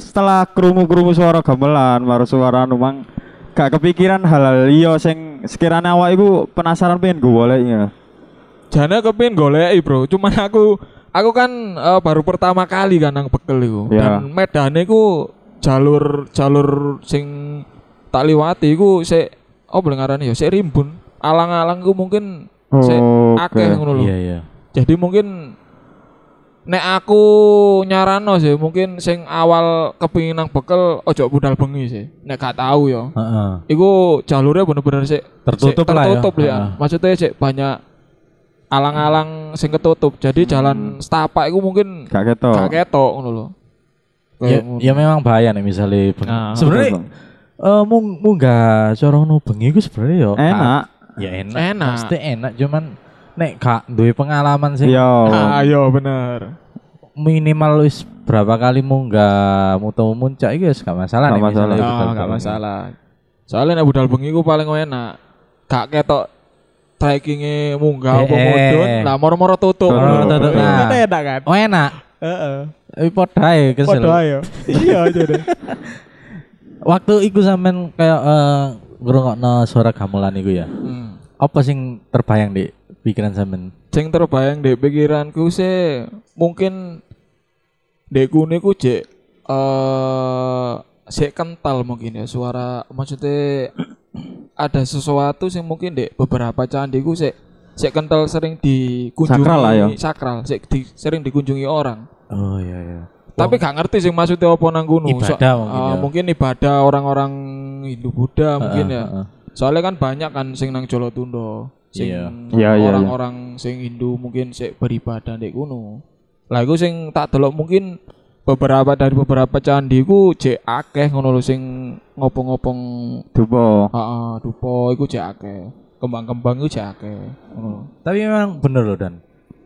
setelah kerungu-kerungu suara gamelan, baru suara anu mang, gak kepikiran hal-hal iya sing sekiranya awak itu penasaran pengen gue boleh ya. Jane kepin goleki, Bro. Cuman aku aku kan eh, baru pertama kali kan nang bekel iku. Iya. Dan medane iku jalur jalur sing tak liwati iku sik oh boleh ngarani ya sik rimbun. Alang-alang ku mungkin sik Oke. akeh ngono lho. Iya iya. Jadi mungkin nek aku nyarano sih mungkin sing awal kepingin nang bekel ojo budal bengi sih. Nek gak tahu ya. Heeh. Iku jalurnya bener-bener sih Tertutup sih lah ya. tertutup ya. Heeh. Maksudnya sih banyak alang-alang sing ketutup. Jadi Hmm. jalan setapak iku mungkin Gak ketok. gak ketok ngono lho. Ya, Kayak ngono. ya memang bahaya nih misalnya bengi. Nah, sebenarnya betul, eh mung munggah cara nu bengi iku sebenarnya yo Enak. ya enak Enak. pasti enak cuman nek gak duwe pengalaman sih Yo. Ah, iya bener. minimal wis berapa kali munggah mutu muncak iku wis gak masalah Gak masalah. misalnya budal Nah, gak bengi. Oh, masalah. Soalnya nek budal bengi ku paling enak. Gak ketok trekkingnya munggah apa Eh, eh. mudun lah moro-moro tutup. Moro-moro tutup, nah. Kan enak kan. oh enak Heeh. tapi padha ae kesel ayo. Iya aja deh. waktu iku sampean kayak eh, ngrungokno suara gamelan iku ya Hmm. apa sing terbayang di pikiran sampean Sing terbayang di pikiranku sih mungkin deku niku jek eh sik kental mungkin ya suara maksudnya ada sesuatu sing mungkin dek beberapa candiku sik sik kental sering dikunjungi Sakral lah ya. sakral sik di- sering dikunjungi orang oh iya iya tapi gak ngerti sih maksudnya apa nang gunung Ibadah mungkin ya. mungkin ibadah orang-orang Hindu Buddha mungkin ya Heeh, heeh. soalnya kan banyak kan sing nang Jolo Tundo sing Iya. Iya, iya, orang-orang sing Hindu mungkin sik beribadah ndek kuno lah iku sing tak delok mungkin beberapa dari beberapa candi iku jek akeh ngono lho sing ngopong-ngopong Dupo. heeh dupa iku jek akeh kembang-kembang iku jek akeh ngono lho. Tapi memang bener loh Dan.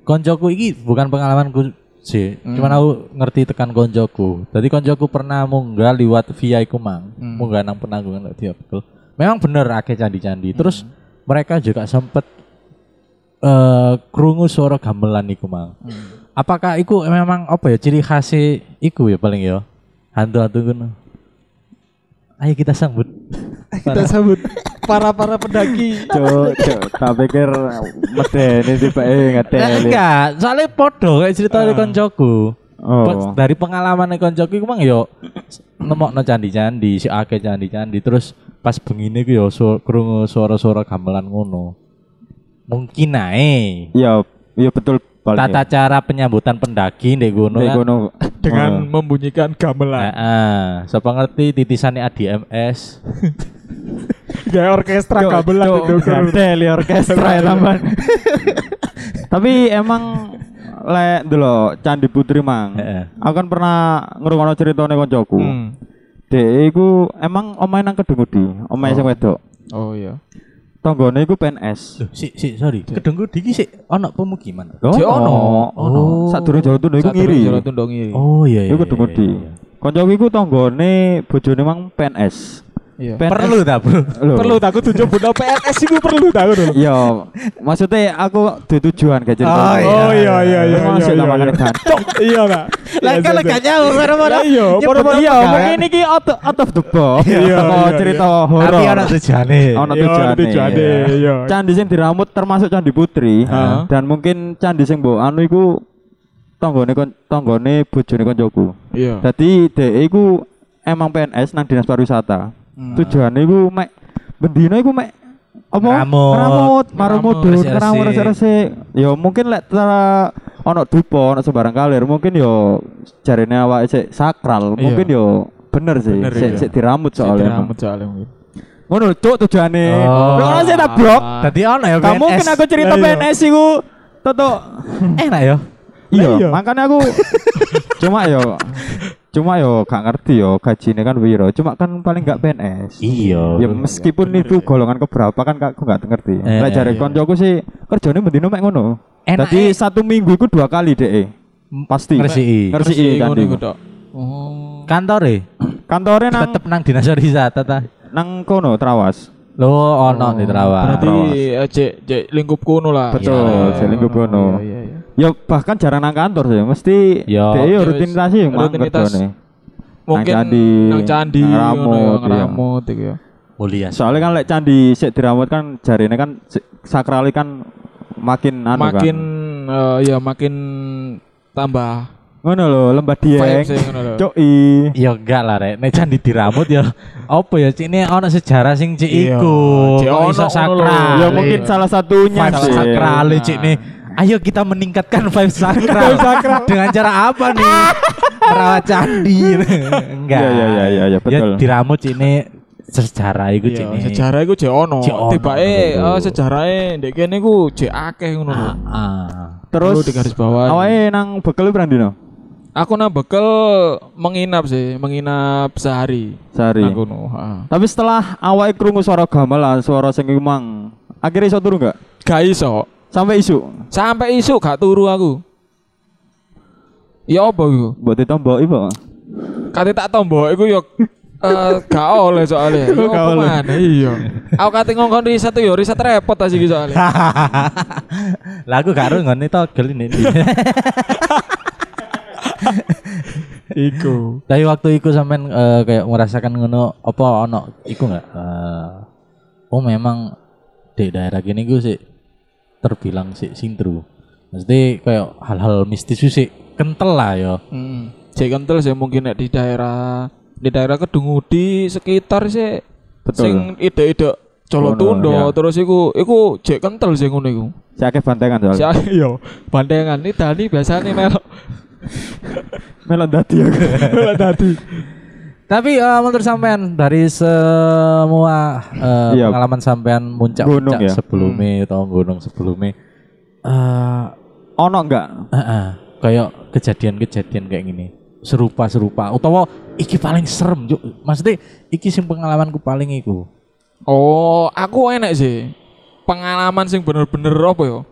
Koncoku iki bukan pengalamanku sih. Hmm. Cuman aku ngerti tekan koncoku. Tadi koncoku pernah munggah liwat via iku mang. Hmm. Munggah nang penanggungan lek dia betul. Memang bener akeh candi-candi. Hmm. Terus mereka juga sempet eh krungu suara gamelan iku mang. Hmm. Apakah iku memang apa ya ciri khas iku ya paling ya? Hantu-hantu ngono. Ayo kita sambut. kita sambut para-para pendaki Cuk, cuk. Tak pikir medeni tiba eh Nah, ngeteli. enggak, soalnya podo kayak cerita Ah. dari koncoku. Pe- Oh. dari pengalaman nih koncoku iku mang yo nemokno candi-candi, si akeh candi-candi terus pas bengine ku yo su krungu suara-suara gamelan ngono. Mungkin ae. Ya, ya Iya, betul Paling tata cara penyambutan pendaki ya. ndek gono Nek Oh. kan. kono. dengan membunyikan gamelan. Heeh. Sapa ngerti titisannya ADMS. Gaya orkestra gamelan itu. Gadel ya orkestra ya tambahan. Tapi emang lek ndelok Candi Putri mang. Heeh. Aku kan pernah ngrungokno ceritane koncoku. Hmm. Dek iku emang omahe nang Kedungudi, omahe sing wedok. Oh iya. Tanggane iku PNS. Loh, sik sik sorry. Kedengku diki sik ono pemukiman. Dia ono. Ono. Sadurunge jalan tunduk iku Satu ngiri. Jalan Tundong ngiri. Oh iya iya. Iku Kedungudi. Koncoku iku tanggane bojone mang PNS. Iya. PNS. Perlu ta, Bro? Lho. Perlu takut tunjuk benda PNS itu perlu takut Yo, dulu. Iya, maksudnya aku di tujuan gak cerita. Oh, iya. Oh iya iya iya. Masuk iya, tak iya, makan iya. ikan. Cok, Iya Pak. Lah kan gak nyaur mana-mana. Lah, Iya, Iya, padahal- iya, pegawai. mungkin ini out, out of the box. kan? Iya, Toko iya, cerita Tapi horor. ono tujuane. Ono Iya, tujuane. tujuane, iya. Candi sing diramut termasuk Candi Putri Heeh. dan mungkin candi sing mbok anu iku tanggane kon- tanggane bojone koncoku. Iya. Dadi dhek iku emang PNS nang Dinas Pariwisata. Hmm. Tujuane iku mek bendina iku mek apa? Ngeramut. Ngeramut, maru Ngeramut, mudun, resik-resik. ngeramut resik-resik. Ya mungkin lek tera ono dupa, ono sembarang kalir, mungkin yo jarene awake sik sakral, mungkin Iya. yo bener sih, Bener, sik iya. sik diramut soalnya. emang. Sederhana, soalnya mungkin. Ngono cuk tujuane. Oh. Ora sik tak blok. Tadi ono ya Kamu mungkin aku cerita Lah, iya. PNS iku totok enak ya. Lah iya. Iya, makanya aku cuma yo cuma yo gak ngerti yo gajinya kan piro. Cuma kan paling gak PNS. Iya. Ya meskipun itu golongan keberapa kan aku gak ngerti. Eh, Lah jare iya. koncoku sih kerjane mendino mek ngono. Enak, Dadi eh. satu minggu iku dua kali deh. Pasti. Ngresiki. Ngresiki Terus kan. ngono iku. iku, Dok. Oh. Kantore Kantore nang e? tetep nang dinas pariwisata ta. nang kono Trawas. Lo Oh. ono di Trawas. Berarti eh, cek cek lingkup kuno lah. Betul, Iya, cek lingkup iya, kuno. Iya, iya. Ya bahkan jarang nang kantor sih, mesti Yo. dhek yo Yo, rutinitas sih mang rutinitas. kerjane. Mungkin candi, nang candi, nang ngono ya, ramut, nang iya. ramut iku ya. Mulia. Soalnya kan lek candi sik dirawat kan jarine kan sik- sakrali kan makin anu Makin kan. eh, ya makin tambah Ngono lho, lembah dieng. vibes ya, ngono lho. Coki. Ya enggak lah rek, nek candi diramut ya apa ya cik ini ono sejarah sing cik Iya, iku. cik Kok ono iso ngono lho. sakral. Ya mungkin salah satunya Iya, vibes sih. sakral Nah. cik nih. Ayo kita meningkatkan vibes sakral. Dengan cara apa nih? Merawat candi. enggak. Iya iya iya iya ya, betul. Ya diramut cik ini sejarah iku Iya, cik nih. sejarah iku jek ono. Jek ono, Tibake betul. eh, sejarahe ndek kene iku jek akeh ngono lho. Ah. Terus Perlu digaris bawahi. Awake nang bekel Brandino Aku nang bekel menginap sih, menginap sehari. sehari. Nang kono, heeh. Tapi setelah awake krungu suara gamelan, suara sing mang, akhirnya iso turu enggak? Gak iso. Sampai isu. Sampai isuk gak turu aku. Ya apa iku? Mbok ditomboki, Pak. Kate tak tombok iku yo eh, gak oleh soalnya Yo, Gak apa oleh. maneh, iya aku kate ngongkon riset tuh yo riset repot aja gitu soalnya Lah aku gak rungon itu togel ini. iku Dari waktu iku sampean eh, kayak merasakan ngono apa ono iku enggak? Eh, oh memang di daerah gini gue sih terbilang sih sintru. Mesti kayak hal-hal mistis itu sih kental lah yo. hmm. Jadi kental sih mungkin nek di daerah di daerah Kedungudi sekitar sih Betul. sing ide-ide colot Ngono, tundo ya. terus iku iku jek kental sih ngono iku Saya akeh bantengan soalnya. Sia- yo bandengan ini Dani biasanya melok Melon dadi aku. Tapi eh, menurut sampean dari semua eh, Iya. pengalaman sampean muncak Gunung muncak ya? sebelumnya atau gunung sebelumnya eh Ono enggak? Heeh, kayak kejadian-kejadian kayak gini serupa-serupa utawa iki paling serem juk maksudnya iki sing pengalamanku paling iku Oh, aku enek sih. Pengalaman sing bener-bener apa ya?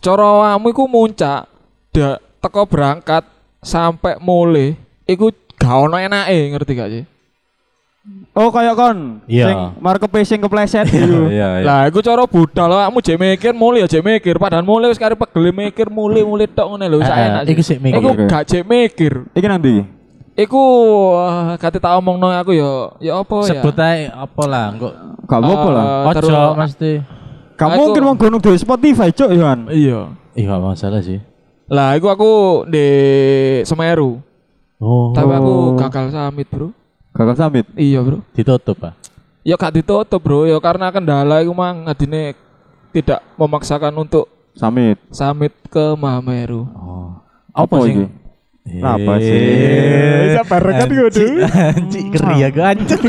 Cara awakmu iku muncak, da, teko berangkat sampai mulai iku gak ono enake, ngerti gak sih? Oh, kayak kon. Iya. Sing markepe sing kepleset iku. Lah, Lah, iku cara budal awakmu jek mikir mulai ya jek mikir, padahal mulai wis karep pegel mikir mulai mulai tok ngene lho, sak Eh, enak. iku sik mikir. Iku gak jek mikir. Iki nang ndi? Iku eh, kate tak omongno aku ya, ya apa ya? sebut ae apa lah engko Gak apa-apa lah. Eh, ojo terus- mesti Gak aku- mungkin wong gunung di Spotify, Cuk, ya, Yohan. Iya. iya gak masalah sih Lah, iku aku di Semeru. oh Tapi aku Oh. gagal summit, Bro. Gagal samit. Iya, Bro. ditutup ah Ya gak ditutup bro, ya karena kendala itu mang adine tidak memaksakan untuk Samit. Samit ke Mameru. Oh. Apa Apa sih? ini? Iya. Apa sih? Eh, Bisa bareng kan, Anjing, waduh. Anjing ngeri ya gue anjing.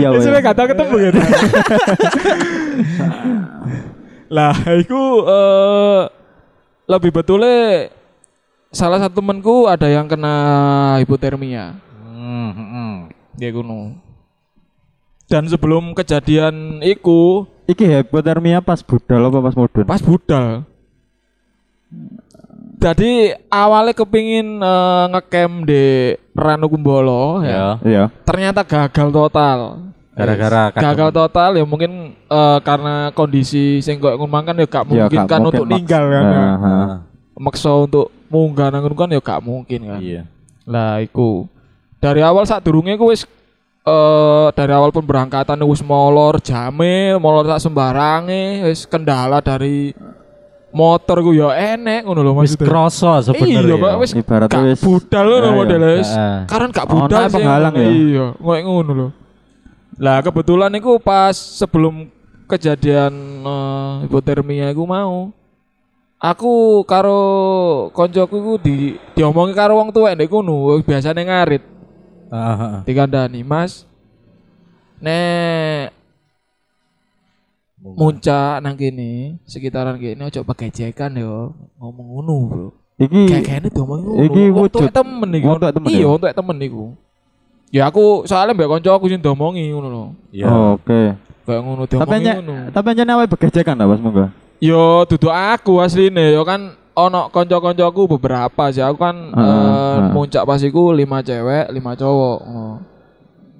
Iya, Pak. Wis suwe gak tau ketemu ya. Lah, iku eh lebih betulnya salah satu temanku ada yang kena hipotermia Hmm, hmm, hmm. dia kuno. Dan sebelum kejadian iku Iki hipotermia pas budal apa pas mudun? pas budal. Jadi awalnya kepingin eh, ngecamp di Ranu Kumbolo ya. Ya. Iya. Ternyata gagal total. Gara-gara Yes. gagal total ya mungkin eh, karena kondisi sing kok ngomong kan ya gak Iya, mungkin gak kan mungkin, untuk Mas. ninggal kan. Nah, ha. Maksa untuk munggah nang ngono kan ya gak mungkin kan. Iya. Lah iku. Dari awal saat durunge ku wis eh, dari awal pemberangkatan wis molor jame, molor tak sembarange, wis kendala dari motor ku ya enek ngono lho Wis maksudnya. kroso sebenarnya. Iya, Pak, wis Ibaratnya gak wis- budal ngono Iya, iya. modelnya wis. Heeh. Karena gak Ono budal yang penghalang ya? Iya, ngoyo ngono lho. Lah kebetulan iku pas sebelum kejadian eh, hipotermia iku mau. Aku karo koncoku iku di diomongi karo wong tuwek ndek kono, biasane ngarit Heeh, heeh. dikandani, Mas. Nek muncak nang kene, sekitaran kene ojo pegejekan yo. Ngomong ngono, Bro. Iki Kayaknya diomongi ngono. Hmm. Iki Untuk wujud- temen iku. untuk temen Iya, ya? untuk temen iku. Ya aku soalnya mbak konco aku sing domongi ngono lho. Iya. Oh, oke. Kayak ngono Tapi domongi hanya ngono. tapi hanya nawa begejekan lah pas monggo. Yo duduk aku asline yo kan ono konco-koncoku beberapa sih. Aku kan Heeh, eh, heeh. muncak pas iku 5 cewek, 5 cowok. ngono.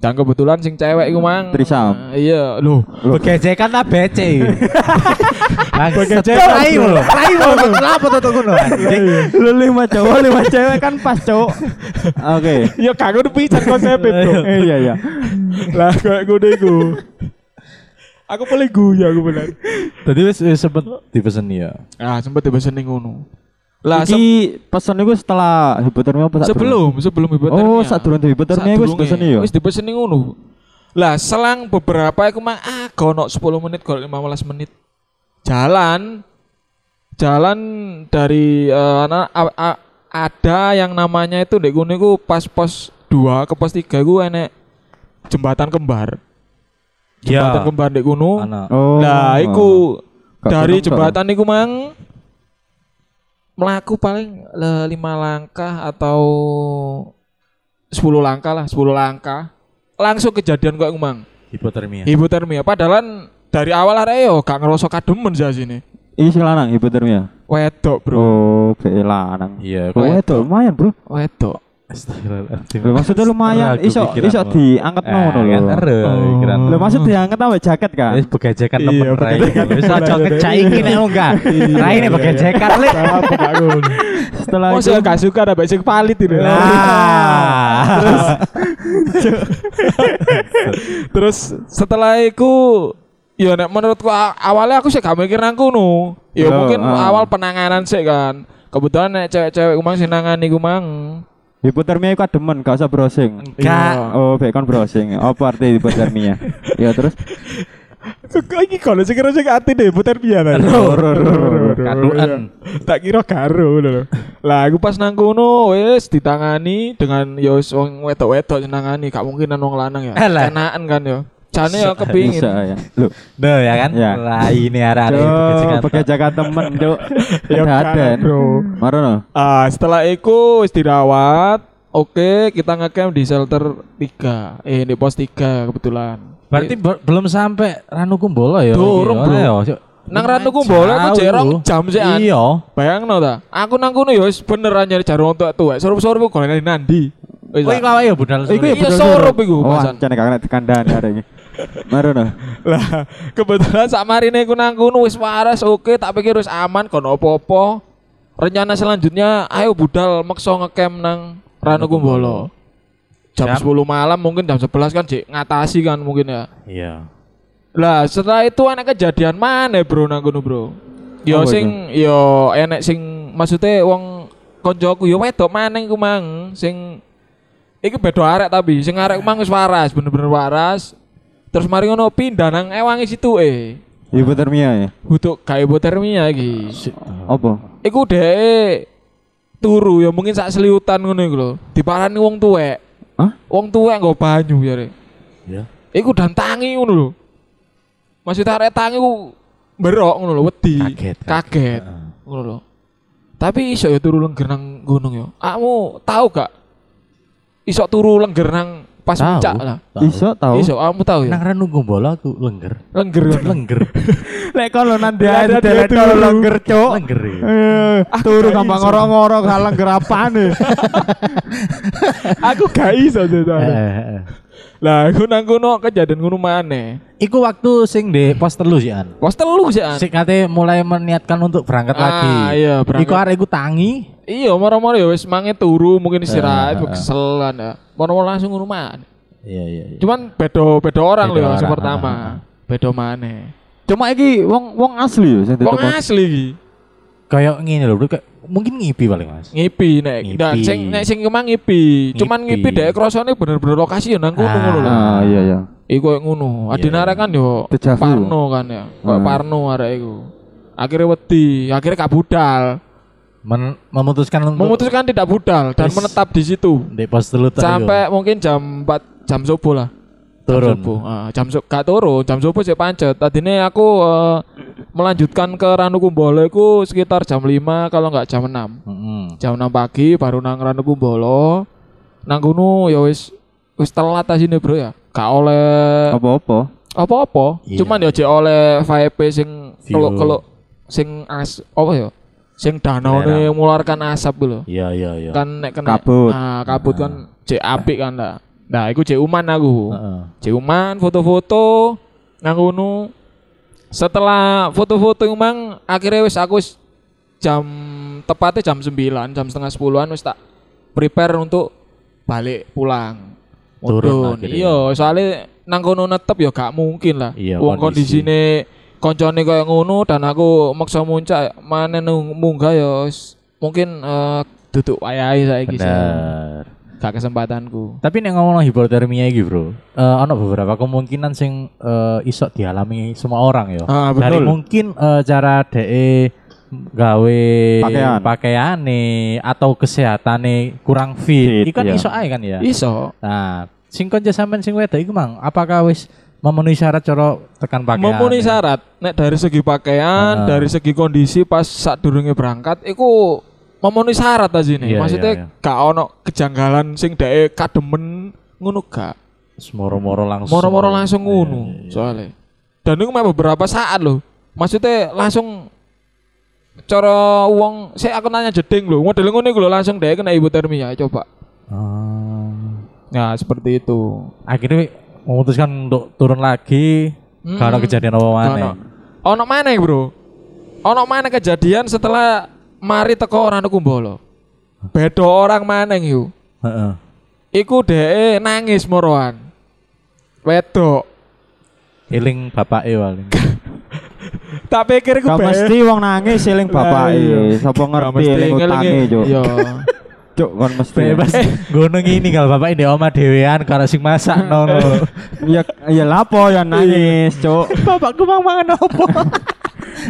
Dan kebetulan sing cewek iku mang. Trisam. eh, iya, lho. Begejekan lah bece. Begejekan Begejekan. laimu Oh, lho. iya. Laimu lho. Kenapa tuh tuh ngono? anjing? Lu lima cowok, lima cewek kan pas cowok. Oke. Ya gak ngono pisan konsep bro. Eh, Iya, iya. Lah kayak ngono iku. Aku paling guyu aku bener. Tadi wis wis sempet dipeseni ya. Ah, sempet dibeseni ngono. Lah Iki pesen iku setelah hipotermia apa sak durung? sebelum sebelum hipotermia. Oh, sak durung hipotermia iku wis Sadurunge, pesen yo. Wis dipeseni ngono. Lah selang beberapa aku mang ah gono 10 menit gono 15 menit. Jalan jalan dari eh, ana- a- a- ada yang namanya itu ndek kono iku pas pos 2 ke pos 3 iku enek jembatan kembar. Ya. Jembatan kembar ndek kono. Anak. Oh. Lah iku Gak dari seneng, jembatan iku mang melaku paling le- lima langkah atau 10 langkah lah, 10 langkah. Langsung kejadian kok iku, mang. Hipotermia. Hipotermia padahal dari awal arek yo gak ngerasa kademen sih sini. Iki sing Iya, lanang hipotermia. Wedok, Bro. Bro, kayak lanang. Iya, Kok kok wedok lumayan, Bro. Wedok. Astagfirullahaladzim. Lho, maksudnya lumayan Ragu iso pikiranmu. iso diangkat Eh, ngono lho. kan ero, Oh. pikiran. Lho, maksud diangkat apa jaket kan? Eh, Wis begejekan temen Iya, Rai. begejekan Wis temen aja Rai. kecai iki nek oh, enggak. Iya, Rai nek begejekan le. Setelah Oh, itu saya gak suka ada sing palit itu. Nah. Terus setelah itu ya nek menurutku a- awalnya aku sih gak mikir nang kono. Ya Loh, mungkin ah. awal penanganan sih kan. Kebetulan nek cewek-cewek kumang sing nangani kumang. hipotermia iku demen, gak usah browsing. Enggak. Iya. Oh, baik kon browsing. Apa arti hipotermia? Ya terus Kok iki kalau sing kira sing ati deh putar pian. Kaduan. Tak kira karo lho. Lah aku pas nang kono wis ditangani dengan ya wis wong wedok-wedok sing nangani, gak mungkin nang wong lanang ya. Alah. Kenaan kan ya. Jane ya kepingin. bisa ya. Lho, Duh ya kan? Ya. Rai ini arah-arah Cuk, begejekan. pakai jaket temen, Cuk. Ya ada. Bro. Marono. Ah, setelah itu wis dirawat. Oke, kita ngecamp di shelter 3. Eh, di pos 3 kebetulan. Eh, Berarti be- belum sampai Ranu Kumbolo ya. Iya, Durung, Bro. ayo, ayo. Nang Ranu Kumbolo aku Jauh, jek rong Bro. jam sekan. Iya. Bayang no ta? Aku nang kono ya wis beneran nyari jarum untuk tuwek. Sorup-sorup kok golekane nandi. Wis. Kowe tak. kawak ya budal Iku sore. ya sorup iku Oh, pasan. ancane kagak nek kandhan arek iki. Marono. Lah, kebetulan sak marine aku nang kono wis waras oke, tak pikir wis aman kon opo-opo. Rencana selanjutnya ayo budal maksa ngecamp nang Ranu Kumbolo. Jam Siap. 10 malam mungkin jam 11 kan jek ngatasi kan mungkin ya. Iya. Lah setelah itu anak kejadian mana bro nang kono bro? Yo Apa itu? sing yo enek sing maksudnya wong konjoku yo wedok maneng ku mang sing iki beda arek tapi sing arek ku mang wis waras bener-bener waras. Terus mari ngono pindah nang ewangi situ eh. Hipotermia ya. butuh kayak hipotermia iki. Apa? Iku deh turu ya mungkin sak seliutan ngono iku lho. Diparani wong tuwek. Hah? Wong tuwek nggo banyu jare. Ya. Iku dan tangi ngono lho. Maksudnya arek tangi ku berok ngono lho, wedi. Kaget, Kaget. Ngono lho. Tapi iso ya turu lengger nang gunung ya. Kamu tahu gak? Iso turu lengger nang pas Tahu. puncak lah. Tahu. Iso tahu. Iso, kamu tahu ya? Nang renu bola aku lengger. Lengger. ngono. Lengger. Lek kalau nanti ada dia kalau turu. lengger cok. lengger. ya. Eh, Turu gampang ngorong-ngorong ya. gak lengger apane. Aku gak iso Eh, Cuk. eh, eh. Lah, aku nang kono kejadian ngono maneh. Iku waktu sing di pos telu sih an. Pos telu sih. An. Sing kate mulai meniatkan untuk berangkat Ah, lagi. iya, berangkat. Iku arek iku tangi. Iya, moro-moro ya wis mange turu, mungkin Ah, ah, istirahat, ah. keselan ya. Moro-moro langsung rumah. Iya iya. iya. Cuman beda-beda orang Beda lho yang orang, pertama. ah, ah. Beda maneh. Cuma iki wong wong asli ya sing Wong ditekok. asli iki. Kayak ngene lho, kayak- mungkin ngipi paling Mas. Ngipi nek. Ngipi. Nah, sing nek sing cuma ngipi. Cuman Ngipi. ngipi dek krasane bener-bener lokasi ya nang kono Ah. ngono lho. Ah iya iya. Iku koyo ngono. Adine Iya. Hmm. arek kan yo Dejavu. Parno kan ya. Koyo Ah. Parno arek iku. Akhirnya wedi, akhirnya gak budal. Men- memutuskan untuk Memutuskan tidak budal dan Wis. menetap di situ. di pos telu tuh, Sampai mungkin jam 4 jam subuh lah. ayo. turun. Jam subuh. Ah, jam su gak turun, jam subuh sih pancet. Tadinya aku eh, melanjutkan ke Ranu Kumbolo iku sekitar jam 5 kalau nggak jam 6. Heeh. Jam 6 pagi baru nang Ranu Kumbolo. Nang kono ya wis wis telat ta sini, Bro ya. Gak Eh, oleh Apa-apa. apa-apa. Iya. Cuman ya jek oleh vibe sing View. keluk-keluk sing as apa ya? Sing Belerang. danaune mengeluarkan asap gitu. Iya iya iya. Kan nek kena Kabut. Ah, kabut kan jek apik kan lah. Nah, iku jek uman aku. Heeh. ciuman foto-foto nang ngono setelah foto-foto emang akhirnya wis aku wis jam tepatnya jam 9 jam setengah 10an wis tak prepare untuk balik pulang Turun Mudun. akhirnya. iya soalnya nang kono netep ya gak mungkin lah Iya, wong kondisi. kondisine koncone kaya ngono dan aku maksa muncak mana munggah ya wis mungkin eh, duduk wayahe saiki sih. Bener. gak kesempatanku Tapi nek ngomong hipotermia iki, Bro. Eh ana beberapa kemungkinan sing eh, iso dialami semua orang ya. ah Dari mungkin eh, cara DE gawe Pakaian. pakaiane atau kesehatan kurang fit. Fit, Iku kan iya. iso ae kan ya. iso Nah, sing konco sampean sing wedok iku Mang, apakah wis memenuhi syarat cara tekan pakaian? memenuhi syarat nek dari segi pakaian Heeh. dari segi kondisi pas saat durungnya berangkat iku memenuhi syarat aja nih Iya, maksudnya iya, gak ono kejanggalan sing dae kademen ngono gak Hmm. Moro-moro langsung. moro-moro langsung ngono Iya, iya. soalnya dan itu mah beberapa saat loh maksudnya langsung cara uang saya aku nanya jeding loh model ngono iku lho langsung dae kena hipotermia coba Ah. nah seperti itu akhirnya memutuskan untuk turun lagi Mm-mm. karena Hmm. kejadian apa mana Ono. Ono mana bro? Ono mana kejadian setelah mari teko orang kumbolo? Bedo orang mana yuk? Heeh. Iku deh nangis moroan. Wedok. Eling bapak e paling. Tak pikir ku Gak mesti wong nangis eling bapake. Sapa ngerti eling utange cok. Yo. Cok kon mesti. Bebas Eh. ngono ngini kalau bapak ini oma dhewean karo sing masak Hmm. nono. Eh. Ya ya lapo ya nangis cok. Bapakku mang mangan opo?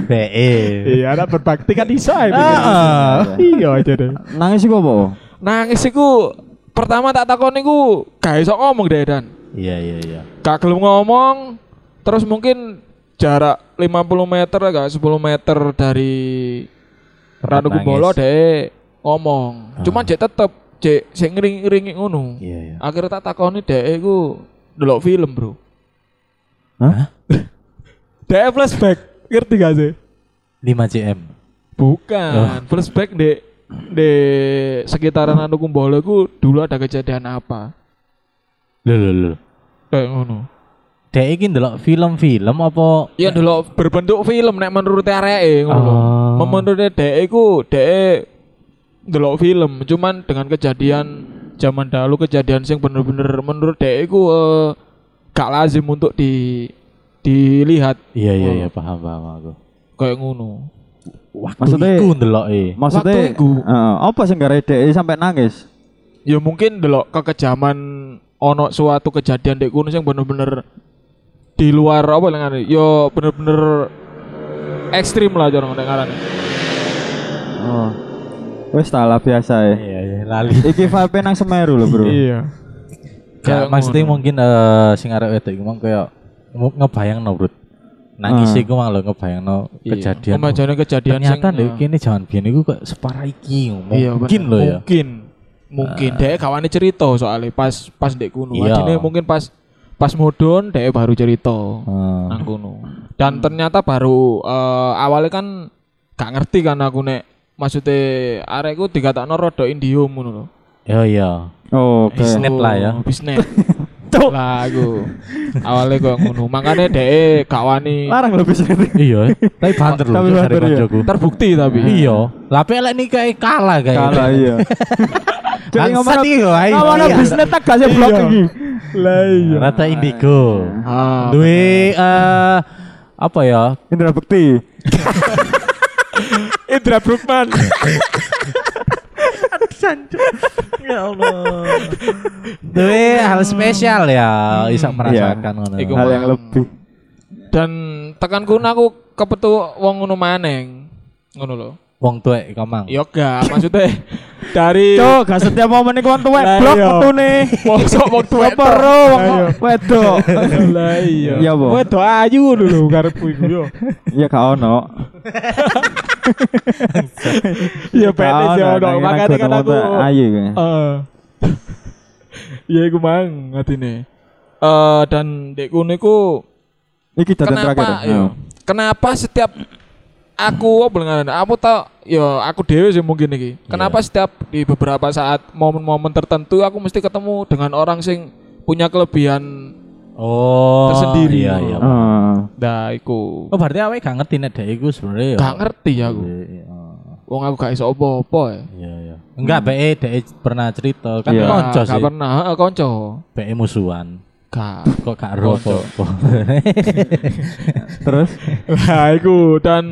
BE. Iya, anak berbakti kan iso ae. Heeh. Iya aja deh. Iya, Nangis iku apa? Nangis iku pertama tak takon iku gak iso ngomong deh dan. Iya iya iya. Gak gelem ngomong. Terus mungkin jarak 50 meter gak 10 meter dari Ranu Nangis. Ah. Kumbolo deh ngomong. Cuman jek tetep jek sing ngring-ngringi ngono. Iya iya. Akhirnya tak takoni dek eh, iku ndelok film, Bro. Hah? Dek flashback. Ngerti gak sih? 5 cm. Oh. Bukan, flashback dek di sekitaran Ranu Kumbolo iku dulu ada kejadian apa. Lho lho lho. Kayak ngono. Dek iki ndelok film-film apa Ya ndelok berbentuk film nek menurut areke ngono. lho. Ah. Menurut dek iku dek ndelok film, cuman dengan kejadian zaman dahulu kejadian sing bener-bener menurut dek iku eh, gak lazim untuk di dilihat Iya iya iya paham paham aku. kayak ngono. Waktu Maksudnya- iku ndelok e. Maksudnya Waktu iku. Heeh, apa sing gak redek sampai nangis? Ya mungkin ndelok kekejaman ono suatu kejadian dek kono sing bener-bener di luar apa lengan yo bener-bener ekstrim lah jarang dengaran Oh. Wis tak lah biasa ya. Iya, iya, lali. Iki vibe nang Semeru lho, Bro. iya Ya, Kayak maksudnya ngono. mungkin eh sing arek wedok iku mang kaya mu- ngebayangno, Bro. Nangis iku mang lho ngebayangno kejadian. kejadian kejadian Ternyata sing- nih kini jangan biyen iku kok separah iki. Iya, Mungkin bener. lho ya. Ah. Mungkin. Mungkin dhek kawane cerita soalnya pas pas ndek kuno. Iya. Adine mungkin pas pas mudun dhek baru cerita Heeh. nang kuno. Dan ternyata baru eh, awalnya kan gak ngerti kan aku nek maksudnya arekku dikatakno rada indium ngono lho. Oh, Ya iya. Oke. Bisnet lah ya. Bisnet. lah aku. Awalnya kok ngono. Makanya dhek gak wani Larang lho bisnet. Iya, eh. tapi banter lho Tapi cuk, dari banter, iya. koncoku. terbukti tapi. Iya, lah pelek nih kayak kalah kayak. Kalah iya. Jadi Bangsat ngomong iya, ayo. ngomong Iya. bisnet tak gak sih blok iki. Lah iya. Rata indigo. Ah, Duwe eh apa ya? Indra Bekti. Indra Brukman. Ya Allah. Duwe hal spesial ya, bisa merasakan ngono. Iku Hal mah. yang lebih. dan tekan kuno aku kepetu wong ngono maneng. Ngono lho. Wong tuwek kamang. Ya gak, maksudnya dari Cuk, gak setiap momen iku kon tuwek Iya. Lah blok iya. metune. mosok wong tuwa Sopo ro wong wedok. Lah iya. Iya, Bo. Wedok ayu lho karepku iku yo. Ya gak ono. Iya, Ya Gak penis ya ono. nanging Makane kan nang gunung aku. tuh Ayu kan. Eh. ya iku mang atine. Eh dan dek kuno iku Iki datang terakhir. kenapa ya? Iya. yo? Kenapa setiap aku oh, apa ngaran aku tak yo aku dewe sih mungkin iki. Kenapa setiap di beberapa saat momen-momen tertentu aku mesti ketemu dengan orang sing punya kelebihan Oh. Tersendiri. Iya, iya. Heeh. nah iku. Oh, berarti awake gak ngerti nek dhek iku sebenarnya ya. Gak ngerti aku. Iya, iya. Wong aku gak iso apa-apa ya. Iya, iya. Enggak, BE dhek pernah cerita kan Iya. konco Gak sih. pernah, heeh konco. BE musuhan. Gak. Kok gak ero Konco. apa-apa. Terus Lah iku dan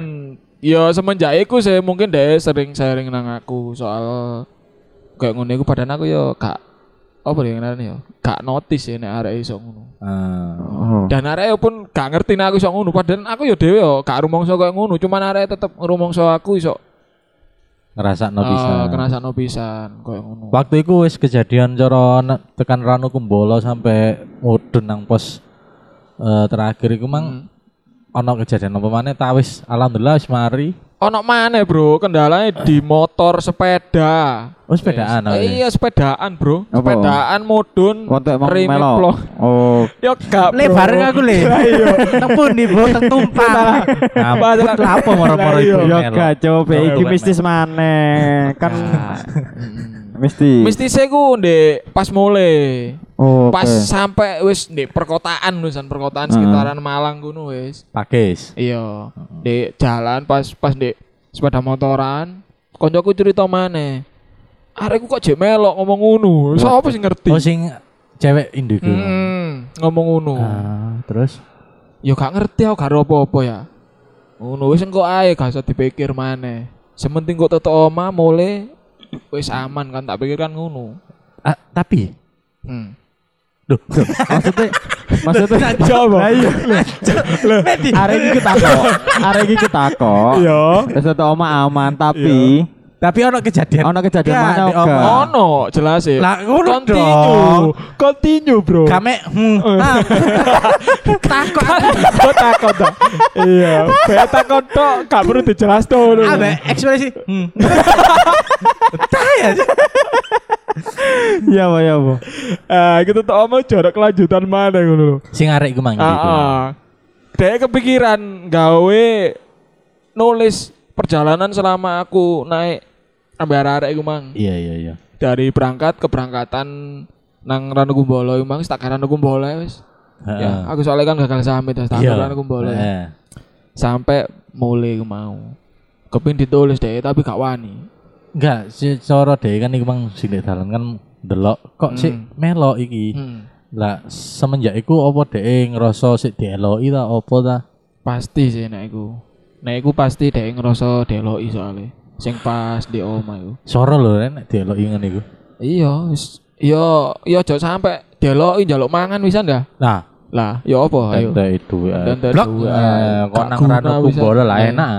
ya semenjak iku saya mungkin deh sering sharing nang aku soal kayak ngono iku padahal aku ya gak apa ya ngarane ya gak notice ya nek arek iso ngono. Ah. oh. Dan arek pun gak ngerti nek aku iso ngono padahal aku ya dhewe ya gak rumangsa kayak ngono cuman arek tetep rumangsa aku iso Ngerasakno eh, bisa. kerasakno pisan kayak ngono. Waktu itu wis kejadian cara na- tekan Ranu Kumbolo sampai mudun nang pos eh, terakhir iku Hmm. mang ono kejadian apa maneh ta wis alhamdulillah wis mari. Ono maneh bro, kendalanya di motor sepeda. Oh sepedaan Eh, awake. Iya sepedaan bro, Apa? sepedaan mudun, Kontek mau remit melo. plong. Oh, Ya gak bro. aku le. Nang pundi mbok tumpah. iya. Ngambut lah apa moro-moro itu. yo Iya. Melo. kacau Yo, Ya iki yo, mistis maneh. Kan mistis. Mesti saya ku ndek pas mulai. Oh, Pas oke. sampai wis ndek perkotaan wisan perkotaan sekitaran Malang kuno wis. Pakis. Iya. Ndek jalan pas pas ndek sepeda motoran, koncoku cerita maneh. Arekku kok jek melok ngomong ngono. Sopo sing ngerti? Oh sing cewek indigo. Mm. Hmm, ngomong ngono. Ah, terus Ya gak ngerti aku gak ada apa-apa ya. Ngono wis engko ae gak usah dipikir maneh. Sementing kok tetok oma mulai wis aman kan tak pikirkan ngono. Ah, tapi Hmm. Duh, maksudnya maksudnya Coba. Lah iya. Arek Iya. iki ketakok. Arek iki ketakok. Iya. Yo. Wis tetok oma aman tapi tapi ono kejadian. ono kejadian Gak, mana di oma. enggak? Ono jelas ya. Lah ngono dong. Continue. Continue, Bro. Kame hmm. Oh. Ah. Takut aku. Kok takut toh? Iya, beta kodok gak perlu dijelas tuh. lho. Abe ekspresi. Hmm. Iya, Bo, iya, Bo. Ah, Eh, gitu tuh omong jarak kelanjutan mana ngono lho. Sing arek iku mang gitu. Heeh. Ah, Dek kepikiran gawe nulis perjalanan selama aku naik ambil arek iku mang. Iya iya iya. Dari berangkat keberangkatan nang Ranu Kumbolo iku mang, tak Ranu Kumbolo ya, wis. Ya, Heeh. aku soalnya kan gagal sampe tas tak Ah. Iya. Ranu Kumbolo. ya. Heeh. Sampai mulai iku mau. Kepin ditulis deh tapi gak wani. Enggak, si cara dhewe kan iku mang sing ndek dalan kan delok kok sik Hmm. melok iki. Hmm. Lah semenjak iku apa dhewe ngerasa sik dieloki ta apa ta? Pasti sih nek iku. Nek iku pasti dek ngerasa deloki soalnya. Sing pas di oma iku. Soro lho nek dieloki ngene iku. Iya, wis. Iya, iya aja sampe deloki njaluk mangan wisan dah. Nah, Lah, ya apa ayo. Tanda itu Tanda blok dua. eh, Gak konang guna rano bisa. kumbolo lah enak.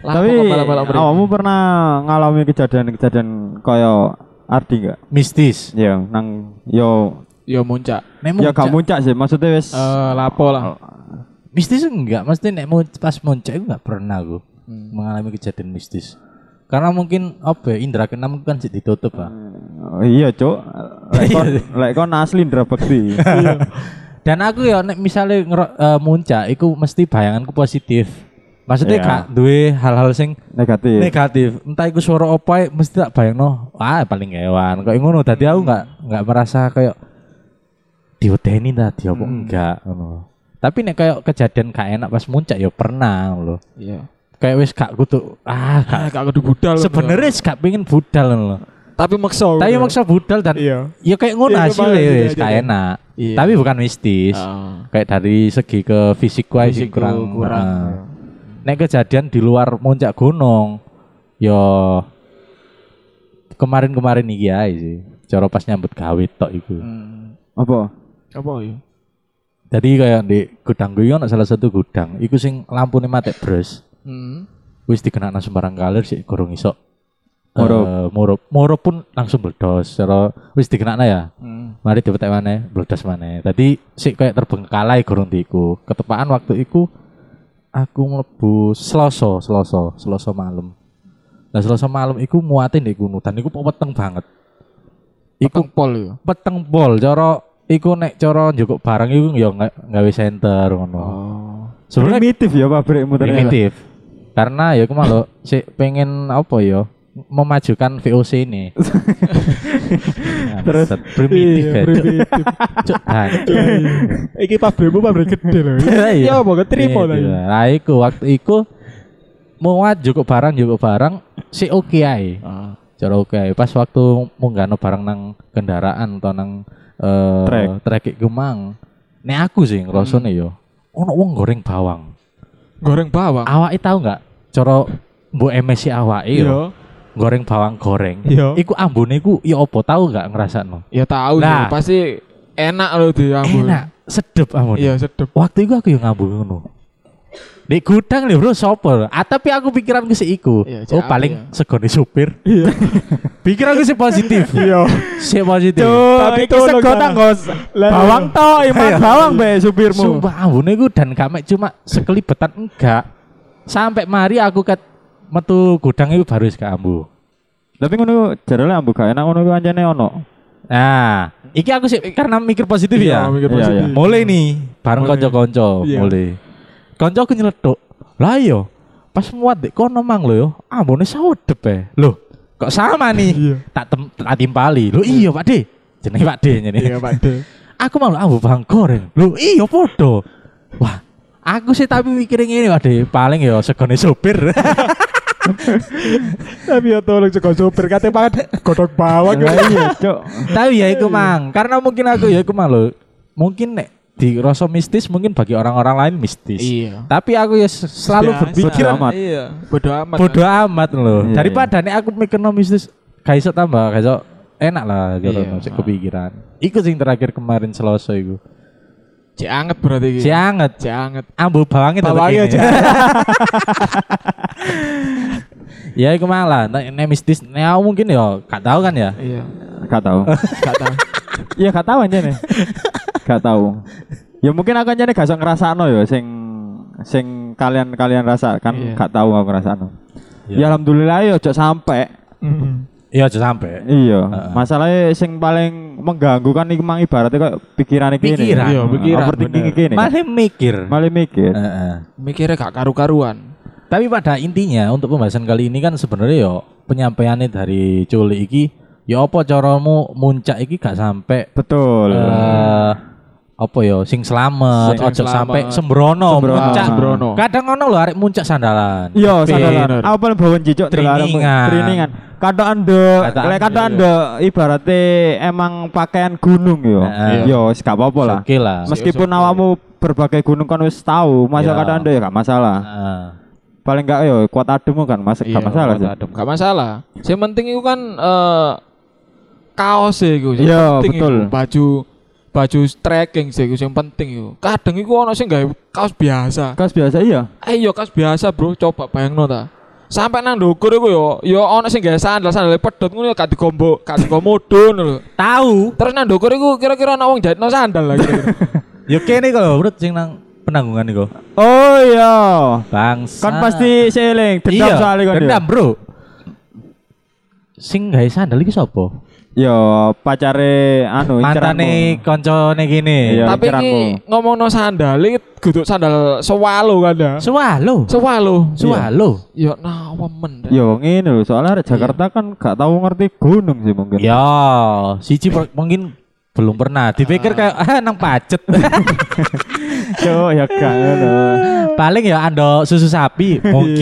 Lah, Tapi kok malam-malam beri- awakmu pernah ngalami kejadian-kejadian kaya Ardi enggak? Mistis. Ya, nang yo Ya muncak. Nek ya muncak- gak muncak sih, maksudnya wis Eh, lapo lah. Oh. mistis enggak mesti nek mun- pas muncak itu enggak pernah aku mengalami kejadian mistis karena mungkin apa ya, indra keenam kan jadi ditutup lah Oh, iya, Cuk. Lek kon lek kon asli ndra bekti. dan aku ya nek misalnya ngero- eh, muncak itu mesti bayanganku positif maksudnya Iya. gak duwe hal-hal sing Negatif. negatif entah itu suara apa mesti tak bayangno ah paling hewan kok ngono tadi aku nggak nggak merasa kayak diwedeni tadi apa enggak ngono. tapi nek kayak kejadian gak enak pas muncak ya pernah loh Iya. kayak wis gak kudu ah gak Ah, gak kudu budal. Oh, sebenarnya sih gak pengen budal loh tapi maksa. tapi maksa budal dan Iya. ya kayak ngono Iya, kemarin hasilnya wis juga gak jadi. enak Iya. tapi bukan mistis Heeh. kayak dari segi ke fisik wae sih Fisik kurang ku Ah, kurang, Nah. nek kejadian di luar muncak gunung yo kemarin-kemarin iki ae sih cara pas nyambut gawe tok iku Apa? Hmm. Apa ya? jadi kayak di gudang gue ono salah satu gudang iku sing lampune mati bres Hmm. wis dikenakna sembarang kalir sih kurang iso Murup. Eh, murup murup pun langsung meledos cara wis dikenakna ya hmm. mari dipetek maneh meledos maneh tadi sik kayak terbengkalai gurung diiku ketepaan waktu iku aku mlebu Selasa Selasa Selasa malam nah Selasa malam iku muate ndek kono dan iku peteng banget iku Iku pol ya. peteng bol cara iku nek cara njukuk barang iku ya nggak gawe center ngono Oh. sebenarnya Primitif ya pabrikmu ternyata. primitif karena ya aku malah sih pengen apa ya memajukan VOC ini terus primitif ya cuk hancur. Iki pabrikmu pabrik gede loh. Iya. Iya, apa keterima Iya, tadi. iya. Lah iku waktu iku muat cukup barang cukup barang si oke ae. Ah. Cara oke ae. Pas waktu munggahno barang nang kendaraan atau nang eh Trek. trek iku mang. Nek aku sih ngrasane yo ono wong goreng bawang. Goreng bawang. Awake tau nggak cara mbok emesi awake Iya. yo goreng bawang goreng. Iya. Iku ambune iku ya apa tau nggak ngrasakno? Ya tahu sih, Nah. pasti enak loh di Ambon. Enak, sedep ambune. Iya, sedep. waktu itu aku yang ngambung ngono di gudang nih bro sopo ah tapi aku pikiranku sih iku Iya, cek oh aku paling ya. Iya. segone supir pikiranku sih positif Iya. sih positif Tapi Iki sego tak nggo bawang tok, iman bawang be Iya. Iya, supirmu. sumpah ambune iku dan gak mek cuma sekelibetan enggak sampai mari aku ket metu gudang itu baru ke ambu Tapi ngono jarane ambu gak enak ngono iku anjane ono. nah iki aku sih karena mikir positif ya mikir Iya, positif. iya. mulai nih bareng Mulai. konco-konco Iya. mulai konco aku nyeletuk lah yo pas muat dek kono mang lo yo ambone saudep ya loh kok sama Iya. nih tak tem tak timpali lo iya pak de jenenge pak de ini Iya, Pak De. aku malu ambu bang goreng lo iya podo wah aku sih tapi mikirin ini pak de paling yo segone sopir Tapi ya tolong juga sopir kate Pak godok bawang. Lah iya, Cuk. tapi ya iku mang karena mungkin aku ya iku mang lo mungkin nek di rasa mistis mungkin bagi orang-orang lain mistis Iya. tapi aku ya s- selalu Biasa. berpikir Bodo amat. Iya. Bodo amat. bodo amat loh. Iya, Daripada nih aku mikir no mistis, gak iso tambah, gak iso enak lah gitu Iya. sik kepikiran. Iku sing terakhir kemarin Selasa iku. Cek anget berarti iki. Si anget, Cek anget. ambu bawangnya tetep Bawangnya kene. ya iku malah nek nek mistis nek aku mungkin ya gak tahu kan ya. Iya. Gak tau. Gak tahu. Iya gak tau anjane. Gak tau. Ya mungkin aku anjane gak iso ngrasakno ya sing sing kalian-kalian rasakan Iya. gak tau aku ngrasakno. Iya. Ya alhamdulillah ya ojo sampe. Iya aja sampai. Iya, masalahnya sing paling mengganggu kan iki mang ibaratnya kayak pikiran iki ini. Pikiran. Iya, pikiran, Overthinking bener. iki ini. Malah mikir. Malah mikir. kan. Heeh. Mikirnya gak karu-karuan. Tapi pada intinya untuk pembahasan kali ini kan sebenarnya yo penyampaiannya dari Culi iki ya apa caramu muncak iki gak sampai Betul. eh apa ya sing selamat Sing ojo selamat. sampai sembrono, Sembrono. muncak Sembrono. kadang ono lho arek muncak sandalan Iya, Tapi, sandalan. Aku paling bawon jicuk Triningan. telarang- Triningan. Kata anda, Katokan lek kata de. anda ibaratnya emang pakaian gunung yo. Heeh. Yo, wis gak apa-apa Iya. lah. Eh, oke lah Meskipun Oke. awakmu berbagai gunung kan wis tahu, masa Iya. kata anda ya gak masalah. Heeh. Paling gak yo kuat ademu kan, mas Iya, gak masalah kuat sih. adem. Gak masalah. Sing penting itu kan eh kaos ya iku. Sing Iya, penting betul. iku. Baju baju trekking sih iku sing penting yo. Kadang iku ono sing gawe kaos biasa. Kas biasa iya. Ayo kaos Eh, biasa, Bro. Coba bayangno ta. Sampai nang ndukur iku yo yo ono sing gawe sandal, sandal pedhot ngono yo gak digombo, gak digomodo ngono lho. Tahu. Terus nang ndukur iku kira-kira ono wong jahitno sandal lagi. Ya kene kalau menurut sing nang penanggungan iku. Oh iya. Bangsa. Kan pasti seling dendam iya, soalnya kan. Dendam, Bro. Sing gawe sandal iki sapa? Yo pacare anu Mantane inceranmu. koncone kene. Iya. Tapi pikiranku. ini ngomongno sandal, iki kudu sandal swalo kan ya. Suwalo. Iya. Swalo. Suwalo. Yo nah, nawemen. Dek. Yo ngene lho, soalnya arek Jakarta Iya. kan gak tahu ngerti gunung sih mungkin. Ya, siji per- mungkin belum pernah dipikir kayak ah nang pacet. Yo ya gak Iya. ngono. Paling ya ando susu sapi Iya, mungkin.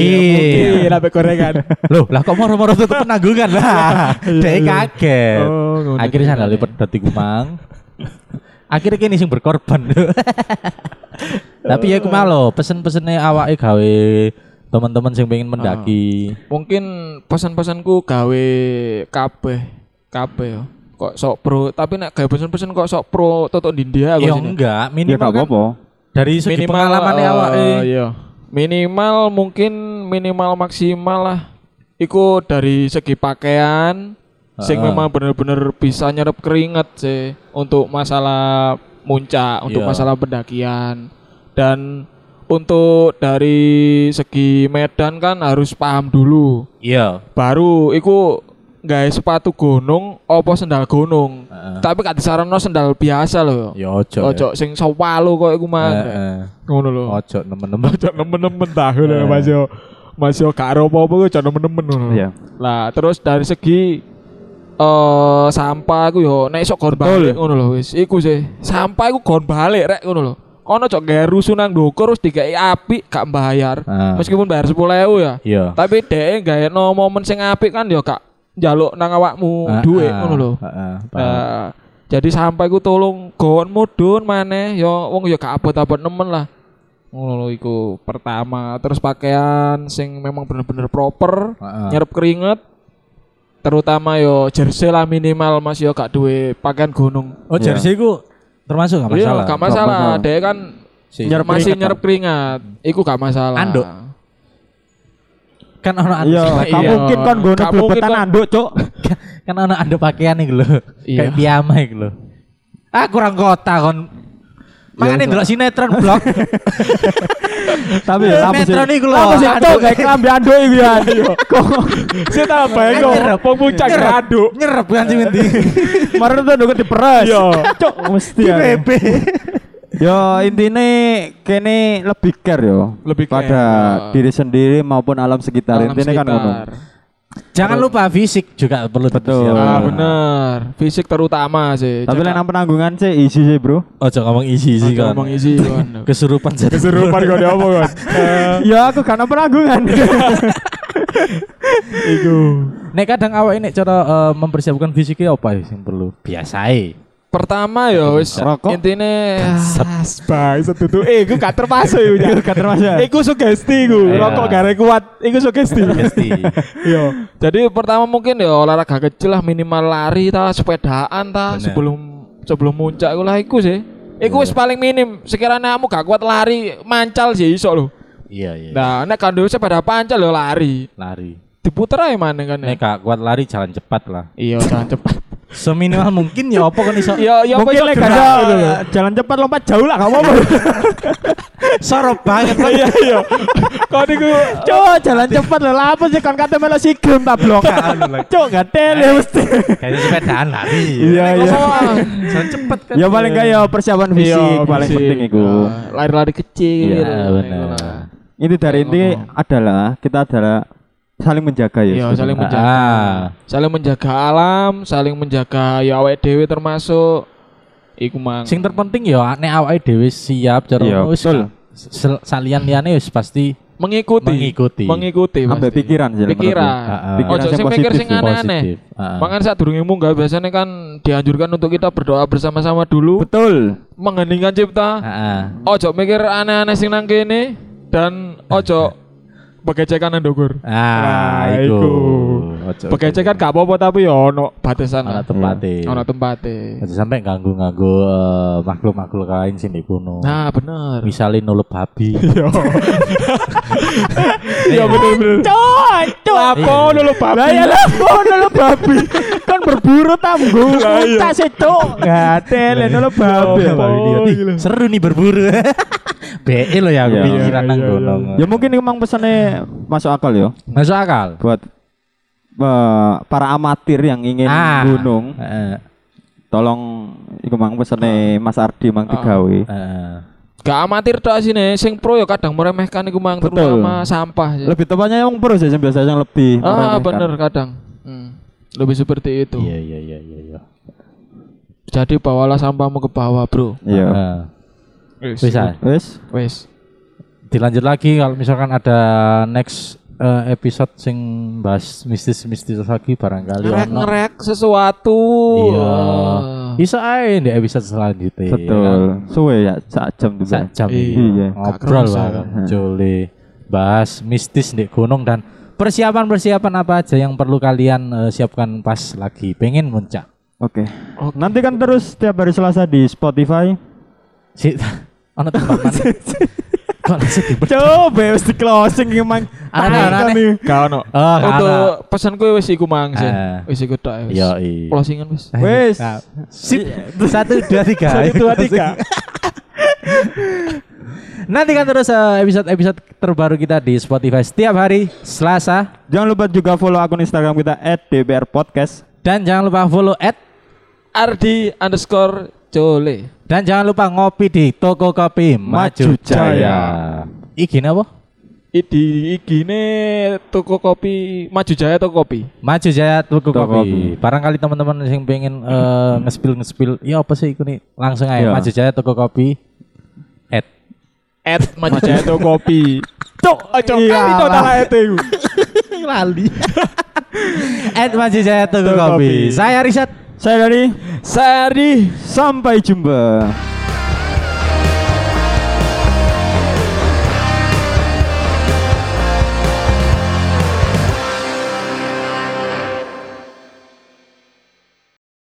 Iya, sampai gorengan. Loh, lah kok moro-moro tutup penanggungan lah. Dek kaget. Iya. Oh, ngono. Akhirnya sandal pedot iku mang. Akhirnya kini sing berkorban. Tapi ya aku malu pesen-pesennya awake gawe teman-teman sing pengen mendaki. mungkin pesan-pesanku gawe kabeh kabeh yo kok sok pro tapi nek gawe pesan-pesan kok sok pro tutuk di India aku Ya sini. enggak, Ya minimal gak kan apa-apa. dari segi pengalamannya eh, awake. iya. minimal mungkin minimal maksimal lah iku dari segi pakaian sing Heeh. memang bener-bener bisa nyerap keringat sih untuk masalah muncak untuk Iya. masalah pendakian dan untuk dari segi medan kan harus paham dulu Iya. baru iku gawe sepatu gunung apa sendal gunung Heeh. tapi gak disaranno sendal biasa lho Ya ojo. ya. Ah. ojo Eh, sing sewalo kok iku mah Heeh. ngono lho Ojo nemen-nemen. Cok nemen-nemen tahu lah Mas yo. Mas yo gak ro apa-apa cok nemen-nemen ngono. Iya. lah terus dari segi eh sampah aku yo nek sok gon balik ngono lho wis iku sih sampah iku gon balik rek ngono lho kono cok gawe rusunan ndukur terus dikai api gak bayar Ah. meskipun bayar 10.000 ya Iya. tapi dhek gawe no momen sing apik kan yo gak njaluk nang awakmu Ah, Ah, duit ngono lho Heeh. paham. Nah, jadi sampai ku tolong gon mudun maneh ya wong ya gak abot-abot nemen lah. Ngono lho iku pertama, terus pakaian sing memang bener-bener proper, Heeh. nyerep keringet. Terutama yo jersey lah minimal Mas yo gak duwe pakaian gunung. Oh, jersey ku termasuk gak masalah. Iya, gak masalah. masalah. Dek kan Si- masih nyerep keringat. Iku gak masalah. Anduk. kan ono anu Iya, sing- gak Iya. mungkin kon gono Gak mungkin blebetan kon- anduk, Cuk. kan ono ada pakaian iku lho. Kayak Iya. piyama iku lho. Ah kurang kota kon. Makane ndelok sinetron blog. Tapi ya apa sih? Sinetron Iya, iku lho. Apa sih Anduk. Cuk kayak klambi anduk iku ya. Kok Saya tak bayang kok. Nyerep. Wong puncak Nyerep. ngaduk. Nyerep kan sing penting. Kemarin tuh nunggu diperes. Iya. Cuk mesti ya. Yo intine kene lebih care yo. Lebih care, pada yo. diri sendiri maupun alam sekitar. Alam intine kan ngono. sekitar. Jangan lupa fisik juga perlu Betul. dipersiapkan. Ah, bener. Fisik terutama sih. Tapi Cakap- lain penanggungan sih isi sih, Bro. Ojo ngomong isi-isi Cakap kan. ngomong isi kan. Kesurupan satu. Keserupan kok dia apa kan. Iya. ya aku karena penanggungan. Nek kadang awak ini cara eh, mempersiapkan fisiknya apa sih yang perlu? Biasai. Pertama ya wis Rokok. intine ah, Bang, setutu eh iku gak termasuk iku. Cak. Gak termasuk. ya? Iku sugesti iku. Iya. Rokok gak arek kuat. Iku sugesti. Pasti. Yo. Jadi pertama mungkin ya olahraga kecil lah minimal lari ta, sepedaan ta Bener. sebelum sebelum muncak iku lah iku sih. Iku wis paling minim. Sekiranya kamu gak kuat lari, mancal sih iso lho. Iya iya. Nah, nek kandel sepeda pancal ya lari. Lari. Diputer ae maneh kan. ya. Nek gak kuat lari jalan cepat lah. Iya, jangan cepat. Seminimal mungkin ya apa kan iso Ya ya Mungkin apa Iya. iso lek gerak ada- Iya. gitu lho. jalan cepat lompat jauh lah kamu apa sorop banget lah. Kok niku Cuk, jalan cepat lho. Lah apa sih kon kate melo sigem ta Iya. blokan. Cuk, gak tele mesti. Kayak sepedaan lari. Iya, iya. Masalah. Jalan cepat kan. Ya paling gak ya persiapan Iya, fisik paling fisik. penting iku. Ah, Lari-lari kecil. Iya, Nah, bener. iku lah. Inti dari inti Oh. adalah kita adalah saling menjaga ya. Iya, sebenarnya. saling menjaga. Ah. Saling menjaga alam, saling menjaga ya awake dhewe termasuk iku mang. Sing terpenting ya nek awake dhewe siap cara Iya, wis betul. sel- salian liyane wis pasti mengikuti. Mengikuti. Mengikuti Ambil pasti. pikiran sih, menurut gue. Pikiran. Ah, ah. Pikiran Ojo yang sing mikir positif sing sih, aneh-aneh. positif. Ah, ah. Makanya saat durunge munggah biasanya kan dianjurkan untuk kita berdoa bersama-sama dulu Betul. mengheningkan cipta. Heeh. Ojo mikir aneh-aneh sing nang kene dan ojo pegecekan ndokur. Ah, Nah, iku. iku. Ojo, ojo. Pegecekan gak apa-apa tapi ya ono batasan. ana lah. tempate. Ono tempate. Aja sampai ganggu-ganggu eh, makhluk-makhluk lain sing di kono. Nah, bener. Misalnya nulep babi. Iya bener bener. Lapo nulu babi. Lah ya lah, ngono lo babi. Kan berburu tambu. Tak setuk. Gatel lo babi. Iya, babi dia. Ih, Seru nih berburu. BE lo ya aku Iya, pikiran nang iya, kono. Ya mungkin emang pesannya masuk akal ya Masuk akal. buat eh, para amatir yang ingin Ah. gunung. Heeh. Tolong iku mang pesane Mas Ardi mang digawe. heeh. Gak amatir tok sini, sing pro ya kadang meremehkan iku mang Betul. terutama sampah ya. sih. Lebih tepatnya yang pro sih yang biasa yang lebih. Ah, meremehkan. bener kadang. Hmm. Lebih seperti itu. Iya iya iya iya iya. Jadi bawalah sampahmu ke bawah, Bro. Iya. Heeh. Wis. Eh, Bisa. Wes. Wis. Dilanjut lagi kalau misalkan ada next eh, episode sing bahas mistis-mistis lagi barangkali ono. Ngerek-ngerek sesuatu. Iya. Ah. Bisa aja di episode selanjutnya. kan? Betul. Suwe ya sak jam Ya. Iya. Sak juga. jam Iya. ini Iya. ngobrol kerasa. bareng Jole bahas mistis di gunung dan persiapan-persiapan apa aja yang perlu kalian eh, siapkan pas lagi pengen muncak. Oke. Oke. Nanti kan terus setiap hari Selasa di Spotify. Si ana tempat mana? Kok langsung di Coba wis di closing iki mang. Aneh-aneh. Ah, Gak ono. Oh, karena- Untuk pesanku wis iku mang sih. Ah. Wis iku tok. wis. Yoi. Closingan wis. Wes. Nah, Sip. Satu dua tiga. Satu dua tiga. Nanti kan terus eh, episode-episode terbaru kita di Spotify setiap hari Selasa Jangan lupa juga follow akun Instagram kita @dbrpodcast. dan jangan lupa follow at Ardi underscore Jole. dan jangan lupa ngopi di toko kopi Maju Maju Jaya. Jaya. Iki napa? Idi igine toko kopi Maju Jaya toko kopi. Maju Jaya toko Toko kopi. Barangkali teman-teman yang pengen eh, ngespil ngespil, ya apa sih iku nih? Langsung aja Iya. Maju Jaya toko kopi. At At Maju Jaya Jatuh kopi. Cok, cok kali to talah itu. iku. lali. At Maju Jaya toko Toko Kopi. kopi. Saya Rizat. Saya dari Sari. sampai jumpa.